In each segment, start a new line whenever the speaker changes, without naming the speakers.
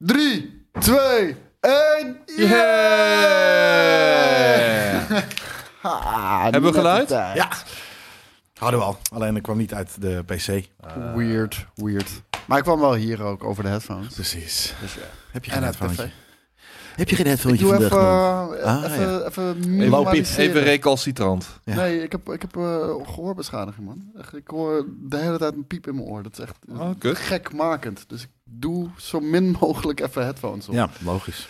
3, 2, 1.
Hebben we geluid?
Ja.
Hadden we al. Alleen ik kwam niet uit de PC.
Weird, weird. Maar ik kwam wel hier ook over de headphones.
Dus Precies. eh, Heb je
En
geen
het
headphone?
café.
Heb je geen headphone
Ik doe
vandaag?
even,
man?
eh,
Ah,
even, even
Even-
minimaliseren.
Even recalcitrant.
ja.
Nee, ik heb, ik heb eh, gehoorbeschadiging, man. Echt, ik hoor de hele tijd een piep in mijn oor. Dat is echt
Oh, kut.
gekmakend. Dus ik doe zo min mogelijk even headphones op.
Ja, logisch.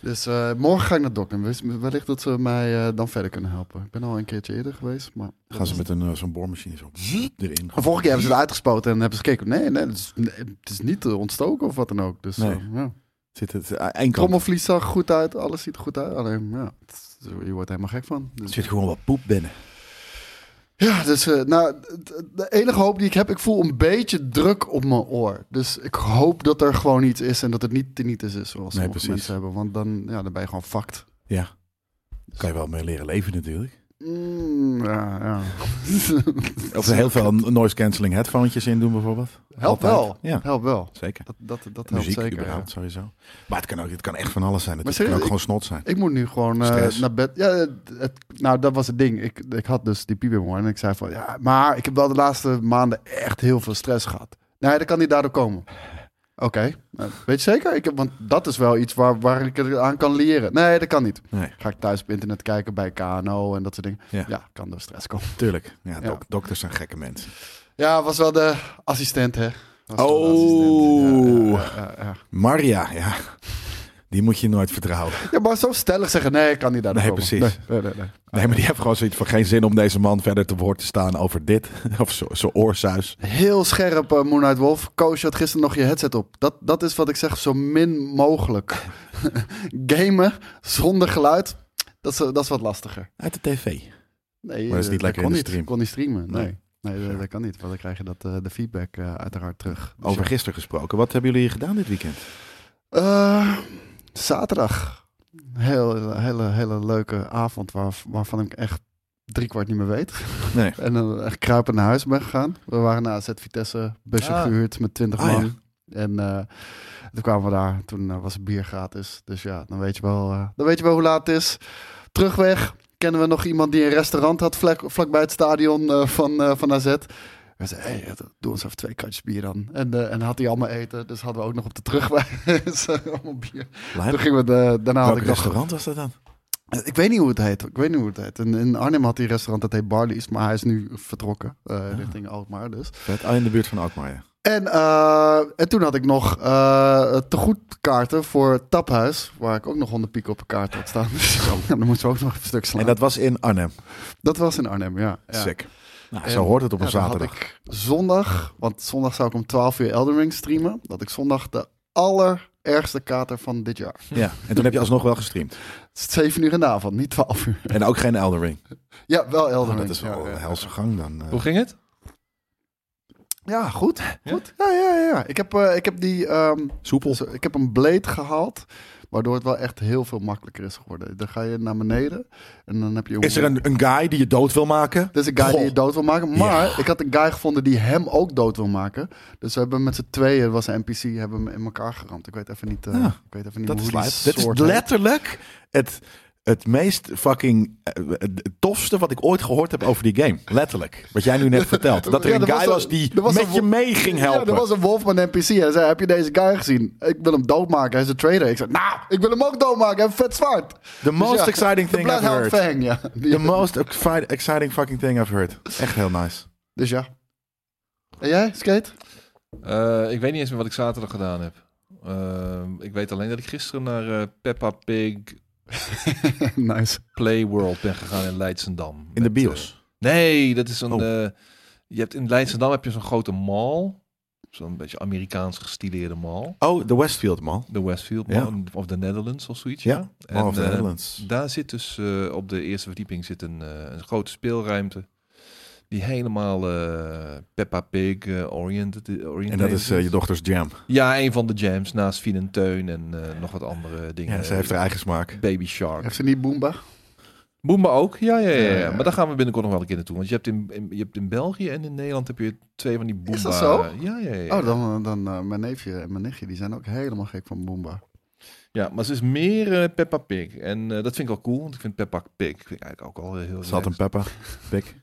Dus eh, morgen ga ik naar de dokter. Wis- Wellicht dat ze mij eh, dan verder kunnen helpen. Ik ben al een keertje eerder geweest, maar...
Gaan ze met een eh, zo'n boormachine zo erin.
Maar Vorige keer hebben ze het uitgespoten en hebben ze gekeken. Nee, nee, het is, nee, het is niet eh, ontstoken of wat dan ook. Dus
Nee.
eh, ja.
Zit het eh, één kant.
trommelvlies zag goed uit, alles ziet er goed uit. Alleen, ja, het is- je wordt er helemaal gek van.
Er
Dus-
zit gewoon wat poep binnen.
Ja, dus eh, nou, d- de enige hoop die ik heb, ik voel een beetje druk op mijn oor. Dus ik hoop dat er gewoon iets is en dat het niet tinnitus is, zoals sommige
precies.
mensen hebben. Want dan, ja, dan ben je gewoon fucked.
Ja. Kan je wel mee leren leven natuurlijk.
Mm, ja, ja.
Of er heel veel noise cancelling headphonetjes in doen bijvoorbeeld.
helpt
Altijd.
wel.
Ja,
Helpt wel.
zeker.
Dat, dat, dat helpt
Muziek
zeker.
überhaupt sowieso. Maar het kan, ook, het kan echt van alles zijn.
Maar
natuurlijk. Het kan ook
serieus,
gewoon snot zijn.
Ik moet nu gewoon eh,
Stress.
naar bed. Ja, het, het- nou, dat was het ding. Ik, ik had dus die piepemor en ik zei van... Ja, maar ik heb wel de laatste maanden echt heel veel stress gehad. Nee, dat kan niet daardoor komen. Oké, nou, weet je zeker? Ik heb, want dat is wel iets waar, waar ik er aan kan leren. Nee, dat kan niet.
Nee,
Ga ik thuis op internet kijken bij KNO en dat soort dingen.
Ja.
Ja, kan door stress komen.
tuurlijk. Ja,
Ja.
dok- dokters zijn gekke mensen.
Ja, was wel de assistent, hè? Was wel de
Oh.
assistent. Ja, ja, ja, ja, ja.
Maria, ja. Die moet je nooit vertrouwen.
Ja, maar zo stellig zeggen, nee, ik kan niet daardoor
Nee,
komen.
precies.
Nee, nee, nee, nee.
Nee, maar die heeft gewoon zoiets van geen zin om deze man verder te woord te staan over dit. Of zo- zo'n oorsuis.
Heel scherp, eh, Moonlight Wolf. Koos, je had gisteren nog je headset op. Dat, dat is wat ik zeg, zo min mogelijk. Gamen zonder geluid, dat is, eh, dat is wat lastiger.
Uit de tv.
Nee,
Maar dat is niet
eh, kon
lekker in de
niet.
stream.
kon niet streamen, nee.
Nee.
Nee, eh,
Ja.
dat kan niet, want dan krijg je dat, eh, de feedback eh, uiteraard terug. Dus
Over gisteren gesproken. Wat hebben jullie gedaan dit weekend?
ja. Eh, zaterdag. Heel, hele, hele leuke avond waar, waarvan ik echt driekwart niet meer weet.
Nee.
En dan echt kruipend naar huis ben gegaan. We waren naar AZ Vitesse, busje
Ah.
gehuurd met 20
Ah,
man. En eh, toen kwamen we daar, toen eh, was het bier gratis. Dus ja, dan weet, je wel, eh, dan weet je wel hoe laat het is. Terugweg kennen we nog iemand die een restaurant had vlak, vlakbij het stadion eh, van, eh, van AZ. Hij zei, hey, eh, doe ons even twee katjes bier dan. En, eh, en had hij allemaal eten, dus hadden we ook nog op de terugweg Dus, eh, allemaal bier. Toen
Leuk.
gingen we, de, daarna had
Welk
ik nog
restaurant was dat dan?
eh, Ik weet niet hoe het heet. Ik weet niet hoe het heet. In, in Arnhem had hij een restaurant dat heet Barley's, maar hij is nu vertrokken eh,
Ah.
richting Alkmaar dus.
Vet. Ah, in de buurt van Alkmaar, ja.
En, eh, en toen had ik nog eh tegoedkaarten voor Taphuis, waar ik ook nog 100 piek op een kaart had staan. Dus dan moesten we ook nog even een stuk slaan.
En
Dat...
dat was in Arnhem.
was in Arnhem, ja. ja.
Sick. Nou,
En-
zo hoort het op een
Ja, dan
zaterdag.
Had ik zondag, want zondag zou ik om 12 uur Elden Ring streamen, dat ik zondag de allerergste kater van dit jaar.
Ja. En toen heb je alsnog wel gestreamd.
Het is 7 uur in de avond, niet 12 uur.
En ook geen Elden Ring.
Ja, wel Elden
Oh,
Ring.
dat is
ja,
wel
ja,
een
ja.
helse gang dan. eh.
Hoe ging het?
Ja, goed. goed. Ja, ja, ja. ja. Ik, heb, eh, ik heb die. ehm,
Soepel.
zo- ik heb een blade gehaald. Waardoor het wel echt heel veel makkelijker is geworden. Dan ga je naar beneden. En dan heb je.
Is er een, een guy die je dood wil maken?
Er is een guy
Goh.
die je dood wil maken. Maar ik had een guy gevonden die hem ook dood wil maken. Dus we hebben met z'n tweeën, het was een NPC, hebben we hem in elkaar geramd. Ik weet even niet, eh,
Ja,
ik weet even niet
Ah, Dat
hoe
is
die
lijp. Dit is
soort heet.
letterlijk het, het meest fucking eh, het tofste wat ik ooit gehoord heb over die game. Letterlijk. Wat jij nu net vertelt. Dat er
Ja,
een
er
guy
was
was,
een-
die
er was een
met je
wo-
mee ging
Ja,
helpen.
er was een wolf met een NPC. Hij zei, heb je deze guy gezien? Ik wil hem doodmaken. Hij is een trader. Ik zei, nou, ik wil hem ook doodmaken. Hij heeft vet zwaard.
The most
Dus ja,
exciting
de
thing I've
Bloodhound
heard.
Fang, ja. Die-
The most exci- exciting fucking thing I've heard. Echt heel nice.
Dus ja. En jij, Skate?
Eh, ik weet niet eens meer wat ik zaterdag gedaan heb. Eh, ik weet alleen dat ik gisteren naar eh, Peppa Pig
nice.
Play World ben gegaan in Leidsendam.
In de
Met,
bios.
eh, nee, dat is een...
Oh.
eh, je hebt in Leidsendam heb je zo'n grote mall. Zo'n beetje Amerikaans gestileerde mall.
eh,
Oh, de Westfield Mall.
De Westfield
Ja.
Mall of de Netherlands of zoiets.
Ja,
En,
Mall of the
eh,
Netherlands.
Daar zit dus eh, op de eerste verdieping zit een, eh, een grote speelruimte. Die helemaal eh, Peppa Pig eh, oriented, oriented
En dat is eh, je dochters jam.
Ja, een van de jams naast Fien en Teun en eh, nog wat andere dingen.
Ja, ze heeft haar eigen smaak.
Baby Shark.
Heeft ze niet Boomba?
Boomba ook? Ja, ja, ja, ja.
Ja, ja.
Maar daar gaan we binnenkort nog wel een keer naartoe. Want je hebt in, in- je hebt in België en in Nederland heb je twee van die Boomba.
Is dat zo?
Ja, ja, ja.
Oh, dan, eh, dan eh, mijn neefje en mijn nichtje, die zijn ook helemaal gek van Boomba.
Ja, maar ze is meer eh, Peppa Pig. En eh, dat vind ik wel cool, want ik vind Peppa Pig vind ik eigenlijk ook al heel
Zat een
relaxed.
Peppa. Pik.
Ehm,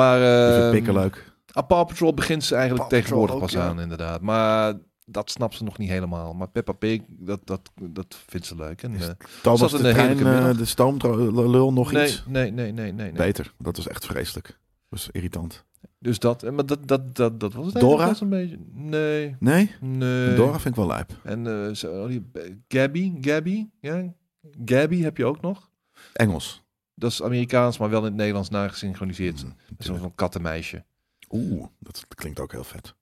Maar
Um,
eh
Pikken leuk.
A Paw Patrol begint ze eigenlijk
Paw Patrol
tegenwoordig pas
ook, ja.
aan, inderdaad. Maar dat snapt ze nog niet helemaal. Maar Peppa Pig, dat, dat, dat vindt ze leuk. En,
Is
eh,
Thomas
zat
de
een heerlijke
trein, eh,
middag.
de stoomlul nog
nee,
iets.
nee, nee, nee, nee, nee.
Beter. Dat was echt vreselijk. Dat was irritant.
Dus dat, eh, maar dat, dat, dat, dat was het
Dora?
eigenlijk best een beetje. Nee,
Nee?
nee.
Dora vind ik wel lijp.
En eh, zo, oh, die, eh, Gabby, Gabby, ja. Gabby heb je ook nog.
Engels.
Dat is Amerikaans, maar wel in het Nederlands nagesynchroniseerd.
Mm,
Zo'n
natuurlijk.
zo'n kattenmeisje.
Oeh, dat klinkt ook heel vet.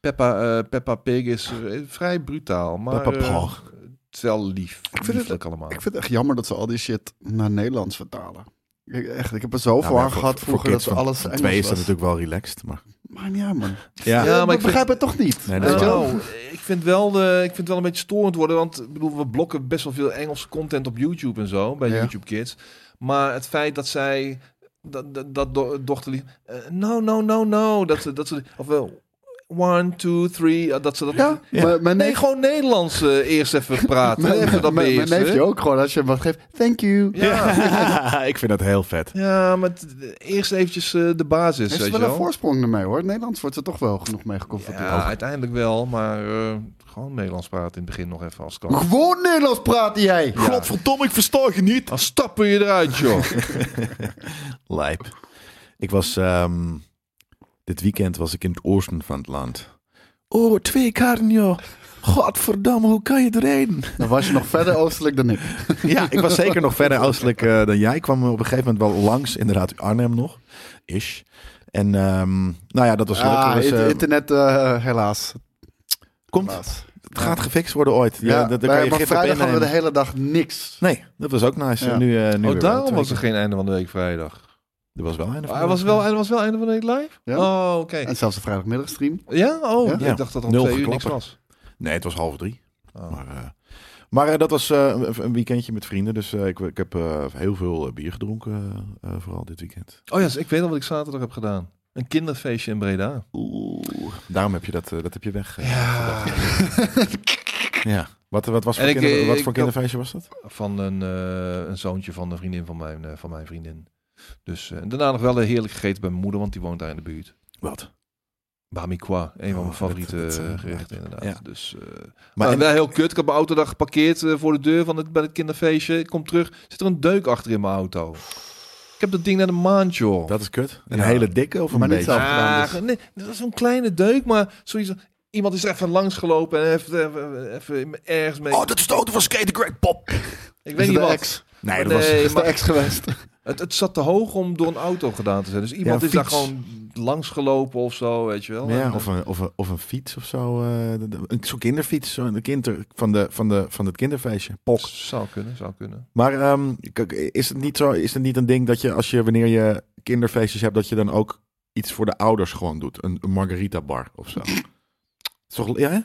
Peppa, eh, Peppa Pig is eh, vrij brutaal, maar
Peppa
eh,
Praag.
het is wel lief.
vind het-
Lieflijk allemaal.
Ik vind het echt jammer dat ze al die shit naar Nederlands vertalen. Ik, echt, ik heb er zoveel
Nou, maar
aan
voor-
gehad
voor
vroeger dat
kids
ze
van-
alles
van
Engels
twee is
was.
dat natuurlijk wel relaxed, maar...
Maar ja, man.
Ja.
Eh,
maar ik
ik
vind-
begrijp het toch niet.
Nee, dat
Weet
is
je
waar.
wel?
Nou, ik vind wel de, ik vind het wel een beetje storend worden, want ik bedoel, we blokken best wel veel Engelse content op YouTube en zo bij
Ja.
YouTube Kids. Maar het feit dat zij dat dat, dat do- dochterlied, eh, no no no no, dat ze dat ze of wel one two three, eh, dat ze dat.
Ja,
Ja.
maar Mijn,
Nee,
neef,
gewoon Nederlands eh, eerst even praten.
mijn,
even dat
mijn- mijn
beheersen.
neefje ook gewoon. Als je hem wat geeft, thank you.
Ja,
ik vind dat heel vet.
ja, maar het- eerst eventjes eh, de basis.
Heeft
weet
ze
je
wel een
wel.
voorsprong ermee hoor. In het Nederlands wordt ze toch wel genoeg mee geconfronteerd.
Ja, uiteindelijk wel, maar eh, gewoon Nederlands praten in het begin nog even als kan.
Gewoon Nederlands praat jij.
Godverdomme, ik versta je niet.
Dan stappen je eruit, joh.
Lijp. Ik was... ehm, dit weekend was ik in het oosten van het land. Oh, twee karren, joh. Godverdamme, hoe kan je er rijden?
Dan was je nog verder oostelijk dan ik.
Ja, ik was zeker nog verder oostelijk eh, dan jij. Ik kwam op een gegeven moment wel langs, inderdaad, Arnhem nog. Ish. En ehm, nou ja, dat was leuk.
Ah,
Er was,
het
eh,
internet eh, helaas.
komt,
helaas.
het gaat gefixt worden ooit. Ja, dat, daar
maar-
kan je
maar
gif op
vrijdag hadden we de
innemen.
hele dag niks.
Nee, dat was ook nice.
Ja.
En Nu, eh, nu
Oh,
weer wel.
daarom
Twee
was er geen einde van de week vrijdag.
Er was wel een
Ah, er was wel, er was wel einde van de week live?
Ja.
Oh, oké.
En zelfs de vrijdagmiddagstream.
Ja? Oh,
Ja.
ik
Ja.
dacht dat er om
Nul
twee uur niks
geklapper.
was.
Nee, het was half drie.
Oh.
Maar, eh, maar eh, dat was eh, een een weekendje met vrienden. Dus eh, ik, ik heb eh, heel veel eh, bier gedronken, eh, eh, vooral dit weekend.
Oh ja, ik weet al wat ik zaterdag heb gedaan. Een kinderfeestje in Breda.
Oeh. Daarom heb je dat, eh, dat heb je weg. eh,
Ja.
ja. Wat, wat, was voor
En ik,
kinder-
eh,
wat
ik
voor
had-
kinderfeestje was dat?
Van een, eh, een zoontje van een vriendin van mijn, eh, van mijn vriendin. Dus eh, en daarna nog wel eh, heerlijk gegeten bij mijn moeder, want die woont daar in de buurt.
Wat?
Bami Kwa, een van
Oh,
mijn favoriete
dat- dat, eh,
eh, gerechten inderdaad.
ja.
Dus, eh,
Maar
maar
en-
wel heel kut. Ik heb mijn auto daar geparkeerd eh, voor de deur van het, bij het kinderfeestje. Ik kom terug, zit er een deuk achter in mijn auto. Ik heb dat ding naar de maand, joh.
Dat is kut. Een
Ja.
hele dikke of een
Maar niet
beetje?
zelf gedaan, dus.
Ah, nee, dat is zo'n kleine deuk, maar zoiets. Iemand is er even langs gelopen en heeft even, even ergens mee.
Oh, dat is de auto van Skate the Great Pop.
ik
Is
weet niet
het de
wat.
ex?
Nee, dat
Nee,
Is de
maar
ex geweest?
het, het zat te hoog om door een auto gedaan te zijn. Dus iemand
een
is daar
fiets.
gewoon langs gelopen of zo, weet je wel.
was... Ja,
En,
of, een, of, een, of een fiets of zo. eh, de- de- een- Zo'n kinderfiets zo, een kinder, van, de, van, de, van het kinderfeestje. Pok.
Zou kunnen, zou kunnen.
Maar ehm, kijk, is, het niet zo, is het niet een ding dat je, als je wanneer je kinderfeestjes hebt, dat je dan ook iets voor de ouders gewoon doet? Een, een margarita bar of zo. Is Toch, ja, hè?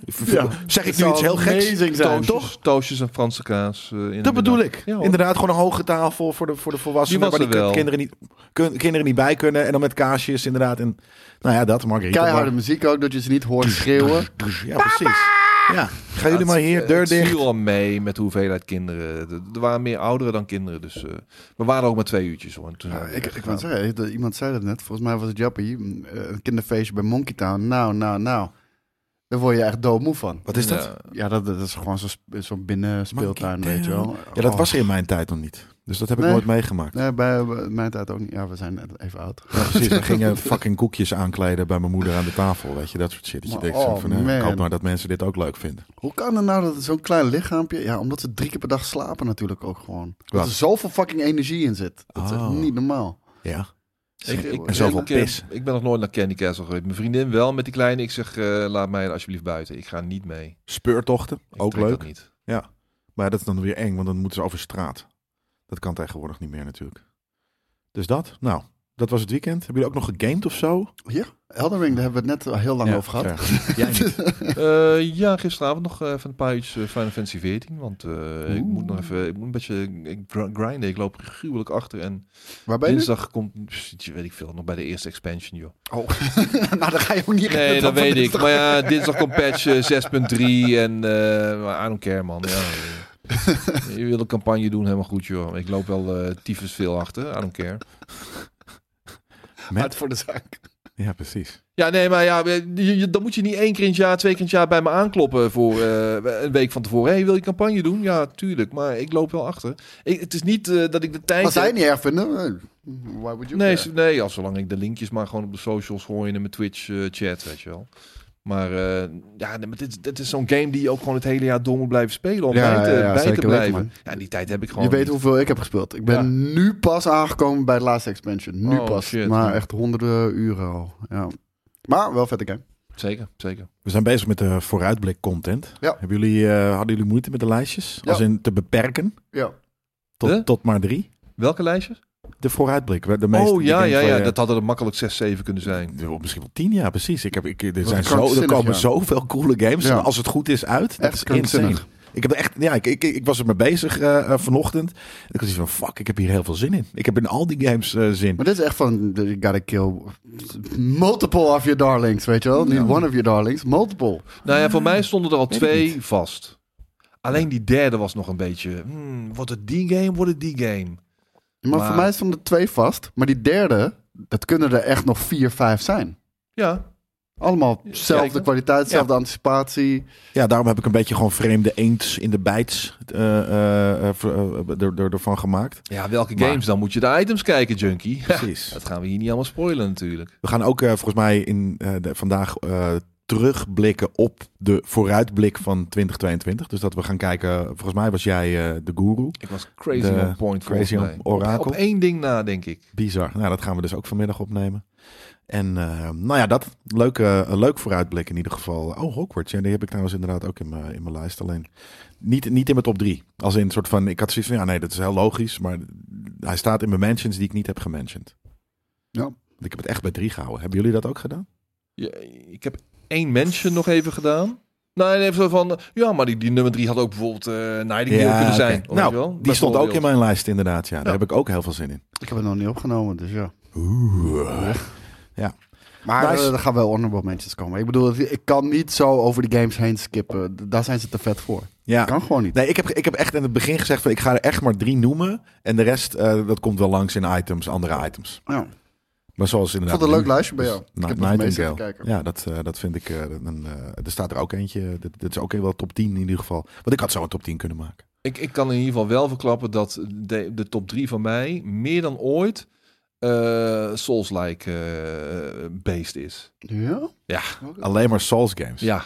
Zeg ik nu iets heel geks?
zijn.
Toon,
Toosjes, toosjes en Franse kaas. eh, in de
Dat
middag.
bedoel ik.
Ja, hoor.
Inderdaad, gewoon een hoge tafel voor de, voor de volwassenen.
Die was
Waar die
er wel.
kinderen, niet, kun- kinderen niet bij kunnen. En dan met kaasjes inderdaad. En, nou ja, dat margarita
Keiharde
bar.
muziek ook, dat je ze niet hoort schreeuwen.
Ja, precies. Ja. Gaan jullie maar hier, deur
eh,
Het
dicht.
viel al mee met de hoeveelheid kinderen. Er- Er waren meer ouderen dan kinderen, dus eh, we waren ook maar twee uurtjes hoor. En toen
Nou,
Ja,
zijn we
ik, ik
weggegaan.
wou zeggen, dat- iemand zei dat net. Volgens mij was het Jappie. mm, eh, Een kinderfeestje bij Monkey Town. Nou, nou, nou. Daar word je echt doodmoe van.
Wat is dat?
Ja.
Ja, dat, dat is gewoon zo'n sp- zo'n binnenspeeltuin,
Monkey
weet je wel.
Ja, dat
Oh.
was er in mijn tijd nog niet. Dus dat heb ik
Nee.
nooit meegemaakt.
Nee, bij, bij mijn tijd ook niet. Ja, we zijn net even oud.
Ja, precies. We gingen fucking koekjes aankleden bij mijn moeder aan de tafel. Weet je, dat soort shit. Dat je
Maar,
denkt zo
oh,
van, eh, ik
man.
hoop maar dat mensen dit ook leuk vinden.
Hoe kan het nou dat het zo'n klein lichaampje... Ja, omdat ze drie keer per dag slapen natuurlijk ook gewoon.
Wat?
Dat er zoveel fucking energie in zit. Dat is echt
Oh.
niet normaal.
Ja.
Ik, ik,
En
zoveel
ik, eh,
pis.
Ik ben nog nooit naar Candy Castle geweest. Mijn vriendin wel met die kleine. Ik zeg, eh, laat mij alsjeblieft buiten. Ik ga niet mee.
Speurtochten,
Ik
ook
trek
leuk.
Dat niet.
Maar dat is dan weer eng, want dan moeten ze over straat. Dat kan tegenwoordig niet meer natuurlijk. Dus dat, nou, Dat was het weekend. Hebben jullie ook nog gegamed of zo?
Elden Ring, daar hebben we het net heel lang over gehad.
Ja. Jij niet.
Eh, ja, gisteravond nog eh, even een paar uurtjes eh, Final Fantasy 14. Want eh, ik
Oeh.
moet nog even, ik moet een beetje ik gr- grinden. Ik loop gruwelijk achter. En
Waar ben je? nu?
dinsdag komt, pff, weet ik veel, nog bij de eerste expansion, joh.
Oh, nou, daar ga je ook niet
Nee,
redden,
dat weet
is
ik.
toch-
Maar ja, dinsdag komt patch eh, 6.3 en eh maar I don't care, man. Ja. Je wil een campagne doen, helemaal goed, joh. Ik loop wel eh, tyfus veel achter, I don't care.
Hard voor de zaak.
Ja, precies.
Ja, nee, maar ja, je, je- dan moet je niet één keer in het jaar, twee keer in het jaar bij me aankloppen voor eh, een week van tevoren. Hé, hey, wil je campagne doen? Ja, tuurlijk, maar ik loop wel achter. Ik, het is niet eh, dat ik de tijd...
Als zij
heb-
het niet erg vinden, eh, why would you
Nee,
care?
z- nee, als zolang ik de linkjes maar gewoon op de socials gooi en in mijn Twitch-chat, weet je wel. Maar eh, ja, nee, maar dit, dit is zo'n game die je ook gewoon het hele jaar door moet blijven spelen om
Ja,
bij te,
ja, ja,
bij te
zeker weten,
blijven.
man.
ja, die tijd heb ik gewoon
Je weet
niet.
hoeveel ik heb gespeeld. Ik ben nu pas aangekomen bij de laatste expansion. Nu
Oh,
pas.
shit.
Maar echt honderden uren al. Ja. Maar wel vette game.
Zeker, zeker.
We zijn bezig met de vooruitblik content.
Ja.
Hebben jullie, eh, hadden jullie moeite met de lijstjes?
Ja.
Als in te beperken
Ja.
tot,
De?
tot maar drie?
Welke lijstjes?
De vooruitblik. De meeste
oh
die
ja,
games
ja,
waar
ja,
je-
dat hadden er makkelijk 6, 7 kunnen zijn.
Ja, Misschien wel tien jaar, precies. Ik heb, ik, er,
Wat
zijn zo, er
krankzinnig,
komen
ja.
zoveel coole games.
Ja.
En als het goed is uit, dat
Echt
is
krankzinnig.
insane. Ik, heb er echt, ja, ik, ik, ik was er mee bezig eh, eh, vanochtend. Ik was iets van, fuck, ik heb hier heel veel zin in. Ik heb in al die games eh, zin.
Maar dit is echt van, you gotta kill multiple of your darlings, weet je wel? Niet one of your darlings, multiple.
Nou ja, voor mij stonden er al
Weet ik
twee vast. Alleen die derde was nog een beetje... hmm, wordt het die game, wordt het die game?
Maar,
Maar-
voor mij stonden er twee vast. Maar die derde, dat kunnen er echt nog vier, vijf zijn.
Ja,
Allemaal dezelfde
Zeker.
kwaliteit, dezelfde anticipatie.
Ja, daarom heb ik een beetje gewoon vreemde eends in de bijts eh, eh, eh, ver- eh, er- er- ervan gemaakt.
ja welke
Maar-
games? Dan moet je de items kijken, Junkie.
Precies.
Dat gaan we hier niet allemaal spoilen natuurlijk.
We gaan ook eh, volgens mij in, eh, de- vandaag eh, terugblikken op de vooruitblik van 2022. Dus dat we gaan kijken, volgens mij was jij eh, de guru.
Ik was crazy
De
on point
Crazy
volgens mij.
Orakel.
Op één ding na, denk ik.
Bizar. Nou, dat gaan we dus ook vanmiddag opnemen. En eh, nou ja, dat. Leuk, eh, een leuk vooruitblik in ieder geval. Oh, Hogwarts. Ja, die heb ik trouwens inderdaad ook in mijn, in mijn lijst. Alleen niet, niet in mijn top drie. Als in een soort van, ik had zoiets van, ja nee, dat is heel logisch. Maar hij staat in mijn mentions die ik niet heb gementioned.
Ja.
Want Ik heb het echt bij drie gehouden. Hebben jullie dat ook gedaan?
Ja, ik heb één mention nog even gedaan. Nou, en even zo van... Ja, maar die, die nummer drie had ook bijvoorbeeld eh Nightingale kunnen zijn.
oké.
Weet je wel?
Nou, die stond ook
Bijvoorbeeld.
in mijn lijst inderdaad. Ja, daar
Ja.
heb ik ook heel veel zin in.
Ik heb het nog niet opgenomen, dus ja.
Oeh.
Maar
Nice.
eh, er gaan wel honorable mentions komen. Ik bedoel, ik kan niet zo over die games heen skippen. D- Daar zijn ze te vet voor.
Ja,
Kan gewoon niet.
Nee, ik heb, ik heb echt in het begin gezegd van ik ga er echt maar drie noemen. En de rest, eh, dat komt wel langs in items, andere items.
Ja.
Maar zoals
Ik
inderdaad.
vond het een leuk
nu.
lijstje bij jou.
Dus
ik
Night-
heb nog mee zitten
Nightingale.
kijken.
Ja, dat, eh, dat vind ik. eh, een, eh, er staat er ook eentje. Dit, dit is ook wel top 10 in ieder geval. Want ik had zo een top 10 kunnen maken.
Ik, ik kan in ieder geval wel verklappen dat de, de top drie van mij... meer dan ooit eh, Souls-like eh, based is.
Ja?
Ja.
Oké.
Alleen maar Souls games.
Ja.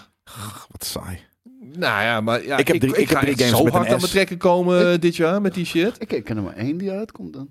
Wat saai.
Nou ja, maar ja,
Ik heb drie- ik heb
ga
drie
echt
games
zo
met een
hard aan
S.
mijn trekken komen eh, dit jaar met die shit.
Ik, ik ken er maar één die uitkomt dan.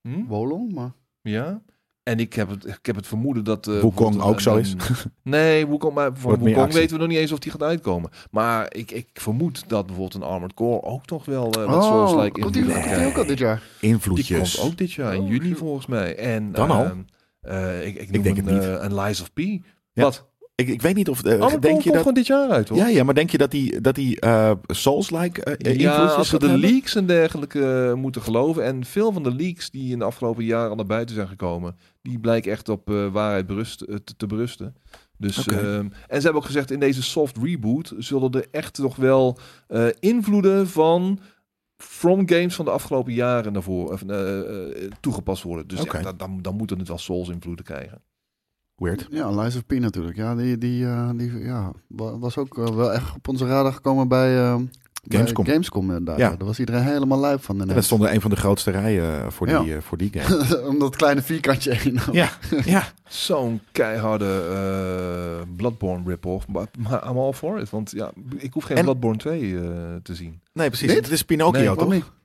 Hm?
Wolong, maar...
Ja. En ik heb het, ik heb het vermoeden dat... eh,
Wukong
bijvoorbeeld
ook zo
een-
is.
een- nee, Wukong, maar van
Wordt meer
Wukong
actie.
weten we nog niet eens of die gaat uitkomen. Maar ik, ik vermoed dat bijvoorbeeld een Armored Core ook toch wel eh wat
Oh,
Souls-like
Oh, komt die,
invloed
komt die
krijgt.
ook al dit jaar?
Die
Invloedjes.
komt ook dit jaar, in
Oh,
juni
shit.
volgens mij. En,
Dan al?
eh, eh, ik, ik, noem
denk
een,
het niet.
eh, een Lies of P.
Ja.
Wat?
Ik, ik weet niet of. eh,
Armored Core
denk
komt
je dat.
gewoon dit jaar uit, hoor.
Ja, ja, maar denk je dat die, dat die eh, Souls-like eh, invloedjes
Ja, als we
gaat
de
hebben?
leaks en dergelijke eh, moeten geloven. En veel van de leaks die in de afgelopen jaren al naar buiten zijn gekomen, die blijken echt op eh, waarheid berust, eh, te, te berusten. Dus,
Oké.
ehm, en ze hebben ook gezegd, in deze soft reboot zullen er echt toch wel eh, invloeden van From Games van de afgelopen jaren naar voren, of, eh, eh, toegepast worden. Dus
Oké.
ja, dan, dan, dan moeten het wel Souls invloeden krijgen.
Weird.
Ja, Lies of P natuurlijk. Ja, die, die, eh, die ja, wa- was ook eh, wel echt op onze radar gekomen bij... ehm, bij
Gamescom.
Gamescom inderdaad.
Ja.
Ja. Daar was iedereen helemaal lui van.
En
ineens.
dat stond er een van de grootste rijen eh, voor,
Ja.
die, eh, voor die game.
Om dat kleine vierkantje heen.
ja.
Zo'n keiharde eh Bloodborne rip-off. Maar, maar I'm all for it. Want ja, ik hoef geen
En-
Bloodborne 2 eh, te zien.
Nee, precies.
Dit?
Het is Pinocchio,
Nee,
Waarom
toch?
niet?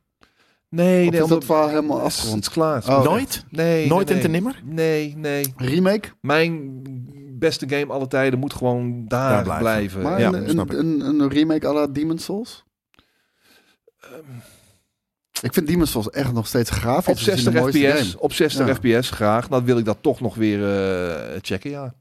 Nee,
Of
nee,
is dat
omdat-
verhaal helemaal
het is- Het
afgerond?
is klaar.
Oh, oké.
Nooit?
Nee,
Nooit
nee,
en ten
nee.
nimmer?
Nee, nee.
Remake?
Mijn beste game alle tijden moet gewoon daar,
Daar blijven.
blijven.
Maar
Eh, ja,
een,
snap ik.
een, een, een remake à la Demon's Souls?
Ehm,
Ik vind Demon's Souls echt nog steeds grafisch.
Op
gezien de
60
mooiste
fps,
game.
op 60
Ja.
fps graag. Nou, Dan wil ik dat toch nog weer eh, checken, ja.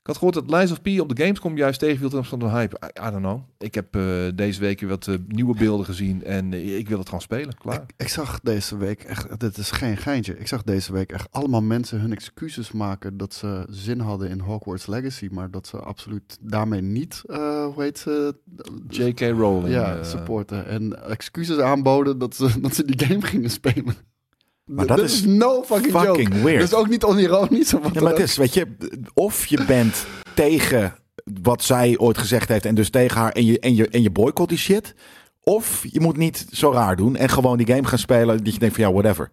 Ik had gehoord dat Lies of P op de Gamescom juist tegenviel ten opzichte van de hype. I, I don't know. Ik heb eh, deze week weer wat eh, nieuwe beelden gezien en eh, ik wil het gewoon spelen. Klaar.
Ik zag deze week echt, dit is geen geintje. Ik zag deze week echt allemaal mensen hun excuses maken dat ze zin hadden in Hogwarts Legacy, maar dat ze absoluut daarmee niet, eh, hoe heet ze?
J.K. Rowling.
ja,
eh,
supporten. En excuses aanboden dat ze, dat ze die game gingen spelen.
Maar
D-
dat
dat
is
is no fucking, joke. Dus
Fucking weird.
Dat is ook niet onironisch. of wat
Ja,
dan
maar het
ook.
is, weet je, of je bent tegen wat zij ooit gezegd heeft en dus tegen haar en je, en je, en je boycott die shit. Of je moet niet zo raar doen en gewoon die game gaan spelen dat je denkt van ja, whatever.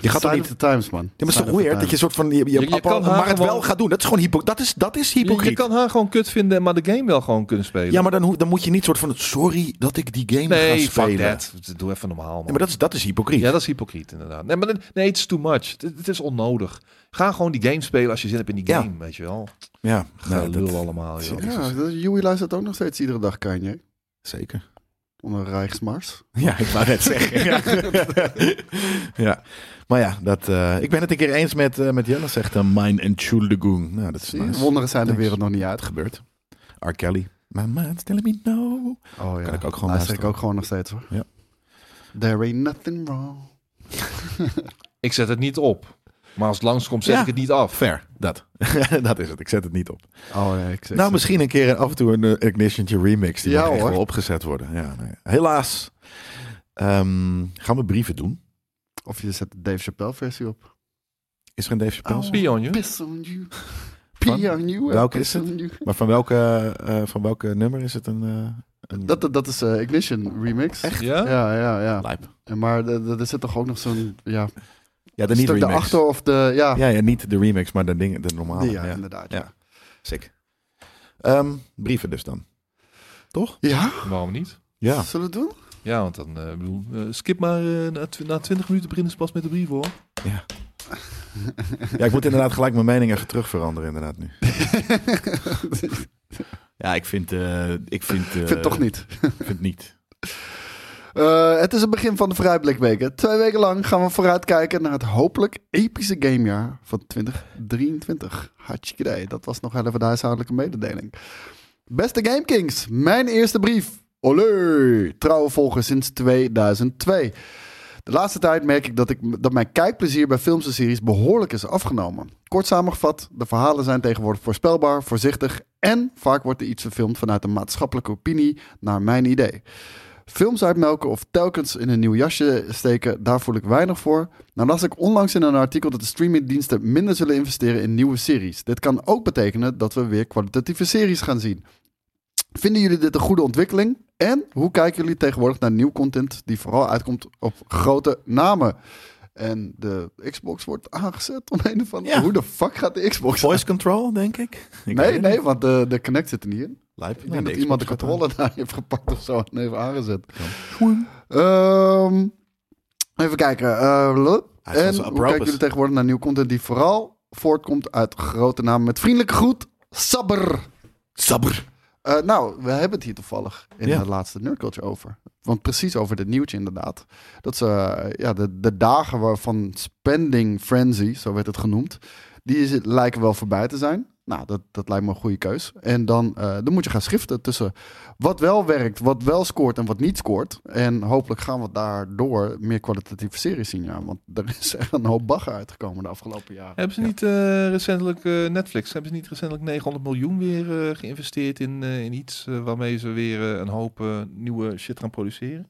Je gaat toch
Sign
niet...
of the times, man.
Ja, maar het is
Sign
toch
of the
weird dat je
times.
soort van... Je, je,
je kan
appel-
haar
maar het wel
gewoon-
gaat doen. Dat is gewoon hypo, dat is, dat is
je,
hypocriet.
je kan haar gewoon kut vinden, maar de game wel gewoon kunnen spelen.
Ja, maar dan, hoe- dan moet je niet soort van... Sorry dat ik die game
nee,
ga spelen.
fuck that. Doe even normaal, man.
Ja, maar dat is, dat is hypocriet.
Ja, dat is hypocriet inderdaad. Nee, maar dit- nee, het is too much. Het, het is onnodig. Ga gewoon die game spelen als je zin hebt in die
Ja.
game, weet je wel.
Ja,
Ga
nee,
lul
dat-
allemaal, joh.
Ja, dat- Joey luistert ook nog steeds iedere dag Kanye.
Zeker.
Onder Rijksmars.
Ja, ik wou net zeggen. Ja. ja. Maar ja, dat, eh, ik ben het een keer eens met, eh, met Jelle, zegt uh, Mijn Entschuldigung. Nou, dat is
Zie je?
nice.
Wonderen zijn de
Nice.
wereld nog niet uit.
Het gebeurt. R. Kelly. My mind's telling me nou. no.
Oh ja.
Kan ik ook
Luister ik
gewoon luisteren.
ook gewoon nog steeds hoor.
Ja.
There ain't nothing wrong.
Ik zet het niet op. Maar als het langskomt, zet
Ja.
ik het niet af.
Fair, dat. dat is het. Ik zet het niet op.
Oh nee, ik zeg
nou, misschien een keer af en toe een eh, Ignition remix. Die
Ja,
mag echt
hoor.
wel opgezet worden. Ja, nee. Helaas. Ehm, gaan we brieven doen?
Of je zet de Dave Chappelle versie op.
Is er een Dave Chappelle?
Oh.
Spionje.
Piss on you. Pee on you. and
Welke
piss
is het?
on you.
Maar van welke, eh, van welke nummer is het een... eh, een...
Dat, dat, dat is eh, Ignition remix.
Echt?
Ja?
Ja, ja, ja.
Lijp.
En Maar de- de- er zit toch ook nog zo'n ja,
Ja, de niet
stuk
remix.
daarachter of de... Ja,
Ja, ja, niet de remix, maar de, dingen, de
die,
normale.
Ah. ja,
Ja,
inderdaad.
Ja.
Ja.
Sick. Ehm, brieven dus dan. Toch?
Ja?
Waarom niet?
Zullen we het doen?
Ja, want dan eh, ik bedoel, eh, skip maar eh, na, tw- na 20 minuten beginnen ze pas met de brief hoor.
Ja, ik moet inderdaad gelijk mijn mening even terug veranderen inderdaad nu. Ja, ik vind... eh, ik vind, eh,
Ik vind het toch niet.
Ik vind niet.
Eh, het is het begin van de vooruitblikweken. Twee weken lang gaan we vooruitkijken naar het hopelijk epische gamejaar van 2023. Hartstikke idee. Dat was nog wel even de huishoudelijke mededeling. Beste GameKings, mijn eerste brief. Olé! Trouwe volger sinds 2002. De laatste tijd merk ik dat, ik dat mijn kijkplezier bij films en series behoorlijk is afgenomen. Kort samengevat, de verhalen zijn tegenwoordig voorspelbaar, voorzichtig en vaak wordt er iets verfilmd vanuit de maatschappelijke opinie naar mijn idee. Films uitmelken of telkens in een nieuw jasje steken, daar voel ik weinig voor. Nou las ik onlangs in een artikel dat de streamingdiensten minder zullen investeren in nieuwe series. Dit kan ook betekenen dat we weer kwalitatieve series gaan zien. Vinden jullie dit een goede ontwikkeling? En hoe kijken jullie tegenwoordig naar nieuw content die vooral uitkomt op grote namen? En de Xbox wordt aangezet om een of andere...
Ja.
Hoe de fuck gaat de Xbox
Voice control, denk ik. ik
Nee, nee, want eh, de, de Connect zit er niet in.
Lijp.
Ik denk dat iemand de controle daar heeft gepakt of zo en heeft aangezet.
Schoen.
Ehm, even kijken. eh, lup.
Hij is
en
onze
hoe
Apropos.
kijken jullie tegenwoordig naar nieuw content die vooral voortkomt uit grote namen? Met vriendelijke groet, Sabber.
Sabber.
Eh, nou, we hebben het hier toevallig in
Ja.
de laatste Nerdculture over. Want precies over dit nieuwtje inderdaad. Dat ze, eh, ja, de, de dagen waar- van spending frenzy, zo werd het genoemd, die is, lijken wel voorbij te zijn. Nou, dat, dat lijkt me een goede keus. En dan, eh, dan moet je gaan schiften tussen wat wel werkt, wat wel scoort en wat niet scoort. En hopelijk gaan we daardoor meer kwalitatieve series zien. Ja. Want er is echt een hoop bagger uitgekomen de afgelopen jaren.
Hebben ze
Ja.
niet eh, recentelijk eh, Netflix? Hebben ze niet recentelijk 900 miljoen weer eh, geïnvesteerd in, eh, in iets eh, waarmee ze weer eh, een hoop eh, nieuwe shit gaan produceren?